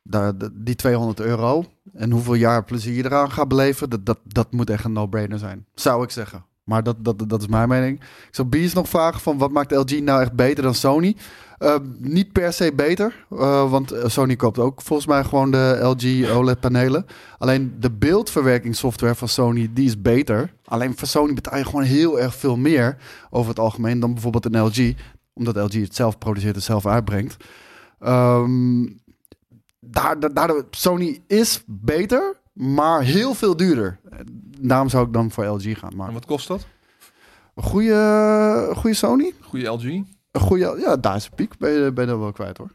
daar- de- die 200 euro en hoeveel jaar plezier je eraan gaat beleven, dat, dat, dat moet echt een no-brainer zijn. Zou ik zeggen. Maar dat, dat, dat is mijn mening. Ik zal Bies nog vragen van wat maakt LG nou echt beter dan Sony? Eh, niet per se beter, eh, want eh, Sony koopt ook volgens mij gewoon de LG OLED-panelen. E Alleen de beeldverwerkingssoftware van Sony, die is beter. Alleen voor Sony betaal je gewoon heel erg veel meer over het algemeen dan bijvoorbeeld een LG. Omdat LG het zelf produceert en zelf uitbrengt. Ehm daar, da- daardoor, Sony is beter, maar heel veel duurder. Daarom zou ik dan voor LG gaan. Maar
En wat kost dat?
een goede, goede Sony?
Goede LG?
Een goede, ja, daar is een piek. Ben je, ben je dan wel kwijt hoor.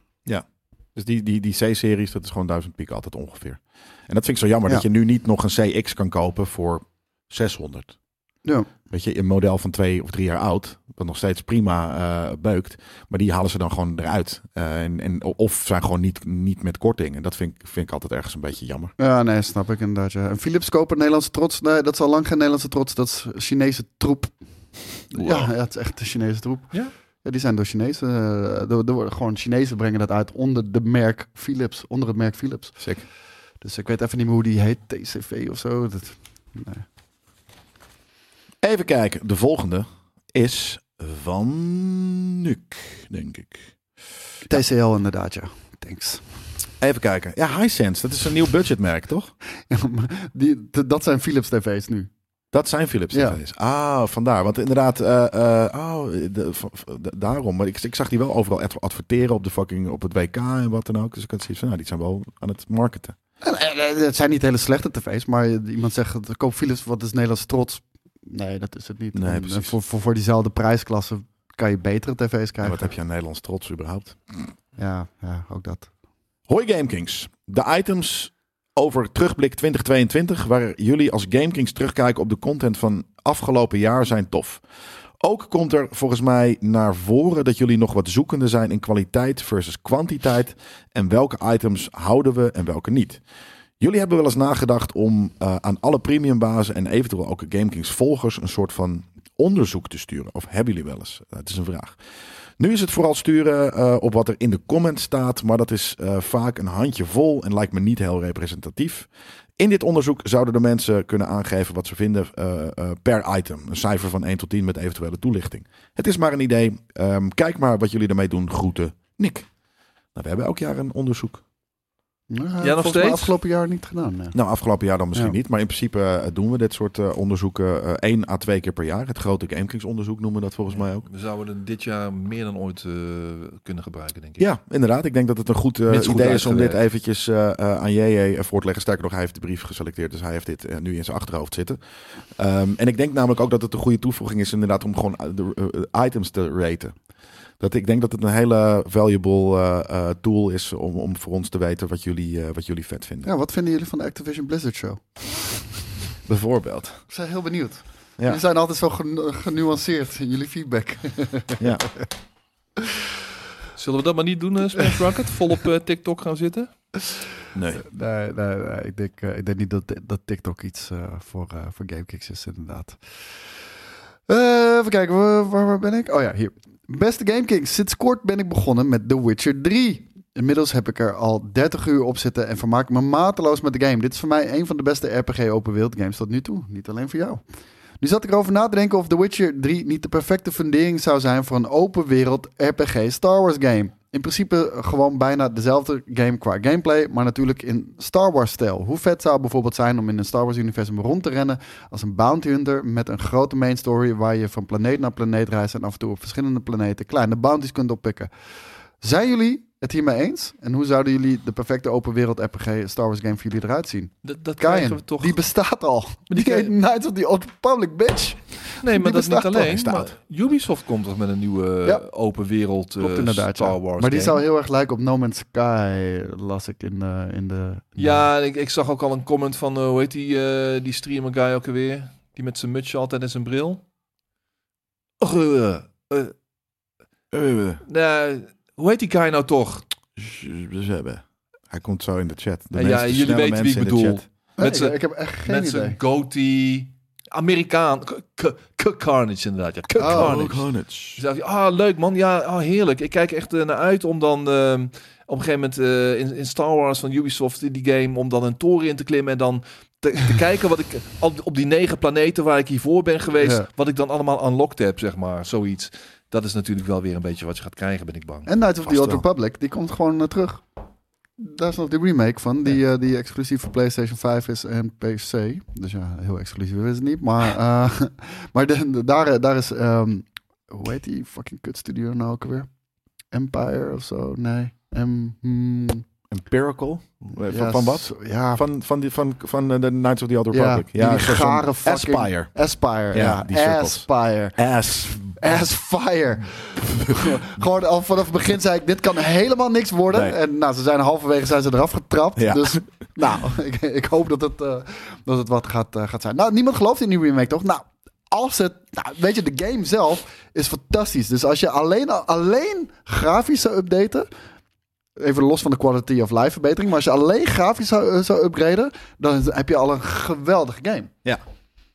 Dus die, die, die C-series, dat is gewoon 1000 piek altijd ongeveer. En dat vind ik zo jammer,
Ja.
dat je nu niet nog een CX kan kopen voor 600.
Ja.
Weet je, een model van twee of drie jaar oud, wat nog steeds prima eh, beukt. Maar die halen ze dan gewoon eruit. Eh, en, en, of zijn gewoon niet, niet met korting. En dat vind, ik- vind ik altijd ergens een beetje jammer.
Ja, nee, snap ik inderdaad. Ja. En Philips kopen Nederlandse trots. Nee, dat is al lang geen Nederlandse trots. Dat is Chinese troep. Ja, ja, het is echt de Chinese troep.
Ja?
Ja, die zijn door Chinezen. eh, door- door- gewoon Chinezen brengen dat uit onder de merk Philips. Onder het merk Philips.
Sick.
Dus ik weet even niet meer hoe die heet. TCV of zo. Dat, nee.
Even kijken, de volgende is van Nuk, denk ik.
TCL inderdaad, ja. Thanks.
Even kijken. Ja, Hisense, dat is een nieuw budgetmerk, toch?
Ja, maar die, d- dat zijn Philips tv's nu.
Dat zijn Philips
Ja.
tv's. Ah, vandaar. Want inderdaad, eh, eh, oh, de- v- v- de- daarom. Maar ik, ik zag die wel overal ad- adverteren op de fucking op het WK en wat dan ook. Dus ik had zoiets van, nou, die zijn wel aan het marketen.
En, eh, eh, Het zijn niet hele slechte tv's, maar iemand zegt, koop Philips, wat is Nederlands trots? Nee, dat is het niet.
Nee,
En,
precies.
eh, voor, voor, voor diezelfde prijsklasse kan je betere tv's
En
krijgen.
wat heb je aan Nederlands trots überhaupt?
Ja, ja, ook dat.
Hoi GameKings. De items over terugblik 2022, waar jullie als GameKings terugkijken op de content van afgelopen jaar, zijn tof. Ook komt er volgens mij naar voren dat jullie nog wat zoekende zijn in kwaliteit versus kwantiteit. En welke items houden we en welke niet. Jullie hebben wel eens nagedacht om eh, aan alle premiumbazen en eventueel ook GameKings volgers een soort van onderzoek te sturen. Of hebben jullie wel eens? Dat is een vraag. Nu is het vooral sturen eh, op wat er in de comments staat, maar dat is eh, vaak een handje vol en lijkt me niet heel representatief. In dit onderzoek zouden de mensen kunnen aangeven wat ze vinden eh, eh, per item. Een cijfer van 1 tot 10 met eventuele toelichting. Het is maar een idee. Ehm, kijk maar wat jullie ermee doen. Groeten, Nick. Nou, we hebben elk jaar een onderzoek.
Ja,
nog
Nou, volgens mij
steeds?
afgelopen jaar niet gedaan. nee.
Nou, afgelopen jaar dan misschien
Ja.
niet. Maar in principe eh, doen we dit soort eh, onderzoeken eh, één à twee keer per jaar. Het grote GameKings-onderzoek noemen we dat volgens mij ook.
We zouden het dit jaar meer dan ooit eh, kunnen gebruiken, denk ik.
Ja, inderdaad. Ik denk dat het een goed eh,
Minst goed
idee is om dit
uitgewerkt.
eventjes eh, eh, aan JJ voor te leggen. Sterker nog, hij heeft de brief geselecteerd, dus hij heeft dit eh, nu in zijn achterhoofd zitten. Ehm, en ik denk namelijk ook dat het een goede toevoeging is inderdaad om gewoon eh, de eh, items te raten. Dat ik denk dat het een hele valuable eh, eh, tool is om, om voor ons te weten wat jullie, eh, wat jullie vet vinden.
Ja, wat vinden jullie van de Activision Blizzard show?
Bijvoorbeeld.
Ik ben heel benieuwd.
Ja.
Jullie zijn altijd zo genu- genuanceerd in jullie feedback.
Ja.
Zullen we dat maar niet doen, eh, Smash Rocket? Volop eh, TikTok gaan zitten?
Nee.
Nee, nee, nee. Ik, denk, eh, ik denk niet dat, dat TikTok iets eh, voor, eh voor GameKicks is, inderdaad. Eh, even kijken, waar, waar waar ben ik? Oh ja, hier. Beste GameKings, sinds kort ben ik begonnen met The Witcher 3. Inmiddels heb ik er al 30 uur op zitten en vermaak ik me mateloos met de game. Dit is voor mij een van de beste RPG open wereld games tot nu toe. Niet alleen voor jou. Nu zat ik erover na te denken of The Witcher 3 niet de perfecte fundering zou zijn voor een open wereld RPG Star Wars game. In principe gewoon bijna dezelfde game qua gameplay, maar natuurlijk in Star Wars stijl. Hoe vet zou het bijvoorbeeld zijn om in een Star Wars universum rond te rennen als een bounty hunter met een grote main story waar je van planeet naar planeet reist en af en toe op verschillende planeten kleine bounties kunt oppikken. Zijn jullie het hiermee eens? En hoe zouden jullie de perfecte open wereld RPG Star Wars game voor jullie eruit zien?
Dat, dat krijgen
Kaien,
we toch...
die bestaat al. Die,
die
die
kan-
heet Knights of the Old Republic, bitch.
nee,
die
maar dat is niet
bestaat
alleen.
toch?
maar Ubisoft komt toch met een nieuwe eh,
Ja.
open wereld eh,
Klopt inderdaad. ja.
Star Wars
maar die
game?
zou heel erg lijken op No Man's Sky, las ik in de. In de
Ja, en ik, ik zag ook al een comment van, eh, hoe heet die, eh, die streamer guy ook alweer? Die met zijn mutsje altijd en zijn bril. Och, eh, eh, nou, hoe heet die guy nou toch?
Hij komt zo in de chat. De
Ja,
meest
ja, jullie
snelle
weten
mensen
wie ik
in de
bedoel.
chat.
Nee,
met z'n-
ik heb echt geen
met
idee.
zijn goatee. Amerikaan. K- K- K- Carnage inderdaad. Ja, K-
Oh,
Carnage.
Carnage.
Dus dacht je, ah, leuk man. Ja, ah, heerlijk. Ik kijk echt eh, naar uit om dan ehm, op een gegeven moment eh, in, in Star Wars van Ubisoft in die game om dan een toren in te klimmen en dan te, te kijken wat ik op, op die negen planeten waar ik hiervoor ben geweest,
Ja.
wat ik dan allemaal unlocked heb, zeg maar, zoiets. Dat is natuurlijk wel weer een beetje wat je gaat krijgen, ben ik bang.
En Night of the
Vast
Old
wel.
Republic, die komt gewoon eh, terug. Daar is nog de remake van, die, eh, die exclusief voor PlayStation 5 is en PC. Dus ja, heel exclusief is het niet. Maar, eh, maar de, de- daar, daar is, ehm, hoe heet die fucking kutstudio nou ook weer? Empire of zo? Nee. Em- hmm,
Empirical? Eh,
ja,
Van, van wat?
zo- Ja,
Van, van, die, van, van eh, de Knights of the Old
Ja,
Republic.
die
een soort van
gare fucking-
Aspire.
Aspire.
Ja,
Ja,
die cirkels.
Aspire.
Ass.
Aspire. Gewoon al vanaf het begin zei ik, dit kan helemaal niks worden.
Nee.
En nou, ze zijn halverwege zijn ze eraf getrapt.
Ja.
Dus nou, ik, ik hoop dat het, eh, dat het wat gaat, eh, gaat zijn. Nou, niemand gelooft in die remake, toch? Nou, als het... Nou, weet je, de game zelf is fantastisch. Dus als je alleen, alleen grafisch zou updaten... Even los van de quality of life verbetering. Maar als je alleen grafisch zou, eh, zou upgraden... dan heb je al een geweldige game.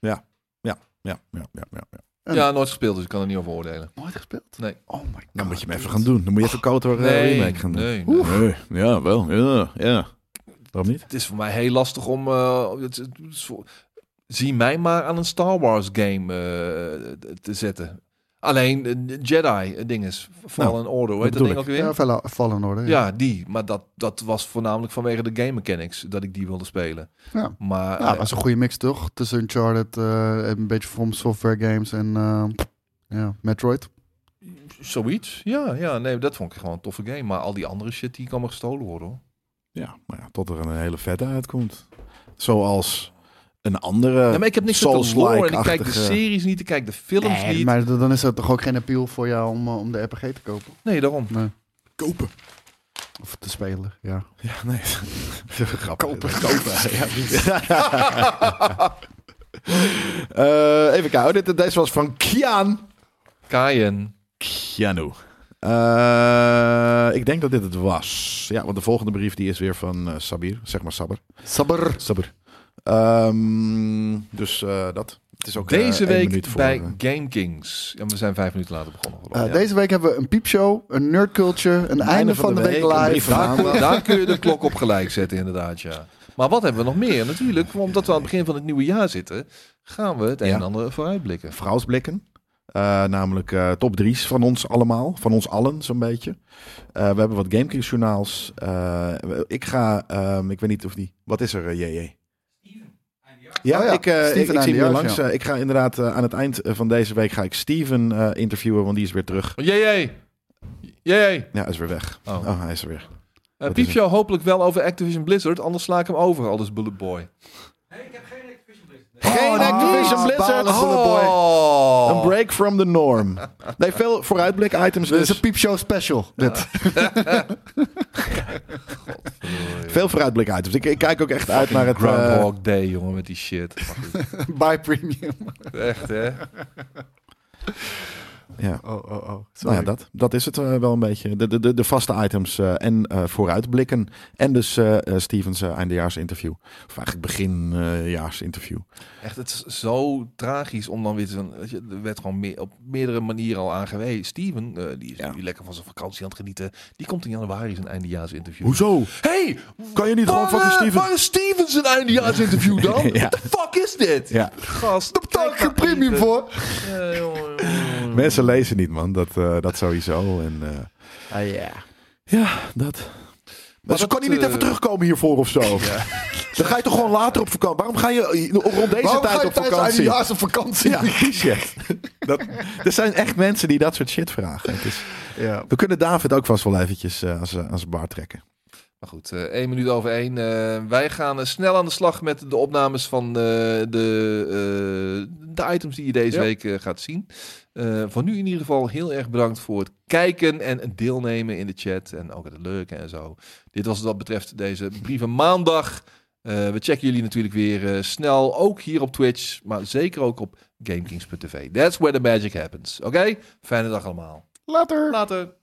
Ja, ja, ja, ja. ja.
En-
Ja, nooit gespeeld, dus ik kan er niet over oordelen.
Nooit gespeeld?
Nee.
Oh my god.
Dan moet je hem even gaan doen. Dan moet je even Kotor eh, remake gaan doen.
nee,
Oeh.
Nee, ja, wel. Ja, ja. Waarom niet?
Het is voor mij heel lastig om. eh, het- het- het is voor- zie mij maar aan een Star Wars game eh, te zetten. Alleen eh, Jedi ding is. Fallen
Nou,
Order, hoe heet dat
bedoel
ding ook weer?
Ja,
Ja,
Fallen- Fallen Order.
die. Maar dat, dat was voornamelijk vanwege de game mechanics dat ik die wilde spelen.
Ja.
Maar
Ja,
eh,
dat was een goede mix toch? Tussen Uncharted, eh, een beetje From Software Games en eh, ja, Metroid.
eh, zoiets. Ja, ja, nee, dat vond ik gewoon een toffe game. Maar al die andere shit die kan maar gestolen worden. Hoor.
Ja, maar ja, tot er een hele vette uitkomt. Zoals een
Eh,
andere...
nee, maar ik heb niks met de lore en ik kijk de
Souls-like-achtige-
series niet, ik kijk de films niet.
Eh, maar d- dan is er toch ook geen appeal voor jou om, eh, om de RPG te kopen?
Nee, daarom.
Kopen.
Of te spelen, ja.
Ja, nee. Grappig.
Kopen.
Ja, precies. Eh, even kijken. Oh, dit, deze was van Kian.
Kaien.
Kianu. Eh, ik denk dat dit het was. Ja, want de volgende brief die is weer van eh, Sabir. Zeg maar Sabber.
Sabber.
Sabber. Ehm, dus eh, dat. Het is ook eh,
Deze
één minuut
week
voor,
bij
eh,
Game Kings. En we zijn vijf minuten later begonnen. geloof ik.
Eh, Deze week hebben we een piepshow, een nerd culture, een einde, van, de, week,
een brief
live.
van
Daar-
maandag.
Daar kun je de klok op gelijk zetten, inderdaad, ja. Maar wat hebben we nog meer? Natuurlijk, omdat we aan het begin van het nieuwe jaar zitten, gaan we het een
Ja.
en ander vooruitblikken.
vrouwsblikken. Eh, namelijk eh, top drie's van ons allemaal, van ons allen zo'n beetje. Eh, we hebben wat GameKings journaals. Eh, ik ga, ehm, ik weet niet of die, wat is er, eh, JJ? Ja,
Oh ja,
ik, eh,
Steven
ik, ik zie hem hier
Eindejaars,
langs.
ja.
Eh, ik ga inderdaad eh, aan het eind eh, van deze week ga ik Steven eh, interviewen, want die is weer terug.
Oh, Jee, jee. Jee, jee.
Ja, hij is weer weg.
Oh.
Oh, hij is er weer.
Eh,
is
Piepshow hopelijk wel over Activision Blizzard, anders sla ik hem over, aldus Bullet Boy.
Geen Activision
ah,
Blizzard!
balen, Bullet Boy.
Oh.
Een break from the norm. Nee, veel vooruitblik items
Dit is
dus.
een piepshow special, dit.
Veel vooruitblik items. Ik, ik kijk ook echt uit naar het... eh,
Groundhog Day, jongen, met die shit. Maar goed,
By premium.
Echt, hè?
ja.
Oh, oh, oh.
Nou ja, dat, dat is het eh, wel een beetje. De, de- de, de vaste items eh, en eh, vooruitblikken. En dus eh eh, Stevens eh, eindejaarsinterview. Of eigenlijk beginjaarsinterview.
Echt, het is zo tragisch om dan weer te... weet je, Er werd gewoon meer, op meerdere manieren al aangewezen. Steven, eh, die is
Ja.
nu lekker van zijn vakantie aan het genieten. Die komt in januari zijn eindejaarsinterview.
Hoezo?
Hey,
Kan je niet
waar,
gewoon fucking
eh,
Steven...
Waar is Steven zijn eindejaarsinterview dan?
Ja.
What the fuck is dit?
Ja,
Gast,
Daar betaal ik geen premium voor.
Eh, jongen, jongen.
mensen lezen niet, man. Dat, eh, dat sowieso. En, eh,
Ah ja.
ja, dat... Maar zo
dat,
kan hij niet
eh,
even terugkomen hiervoor of zo. Dan ga je toch gewoon later op vakantie. Waarom ga je eh, rond deze
Waarom ga
tijd
je
op
tijdens
vakantie?
eindejaars op vakantie?
Ja, shit. Dat, er zijn echt mensen die dat soort shit vragen. Het is,
Ja.
We kunnen David ook vast wel eventjes eh, aan zijn aan zijn baard trekken.
Maar goed, eh één minuut over één. Eh, wij gaan eh, snel aan de slag met de opnames van eh, de, eh, de items die je deze
Ja.
week eh, gaat zien. Eh, voor nu in ieder geval heel erg bedankt voor het kijken en het deelnemen in de chat. En ook het leuke en zo. Dit was het wat betreft deze brieven maandag. Eh, we checken jullie natuurlijk weer eh, snel, ook hier op Twitch, maar zeker ook op GameKings.tv. That's where the magic happens. Oké? Fijne dag allemaal.
Later.
Later.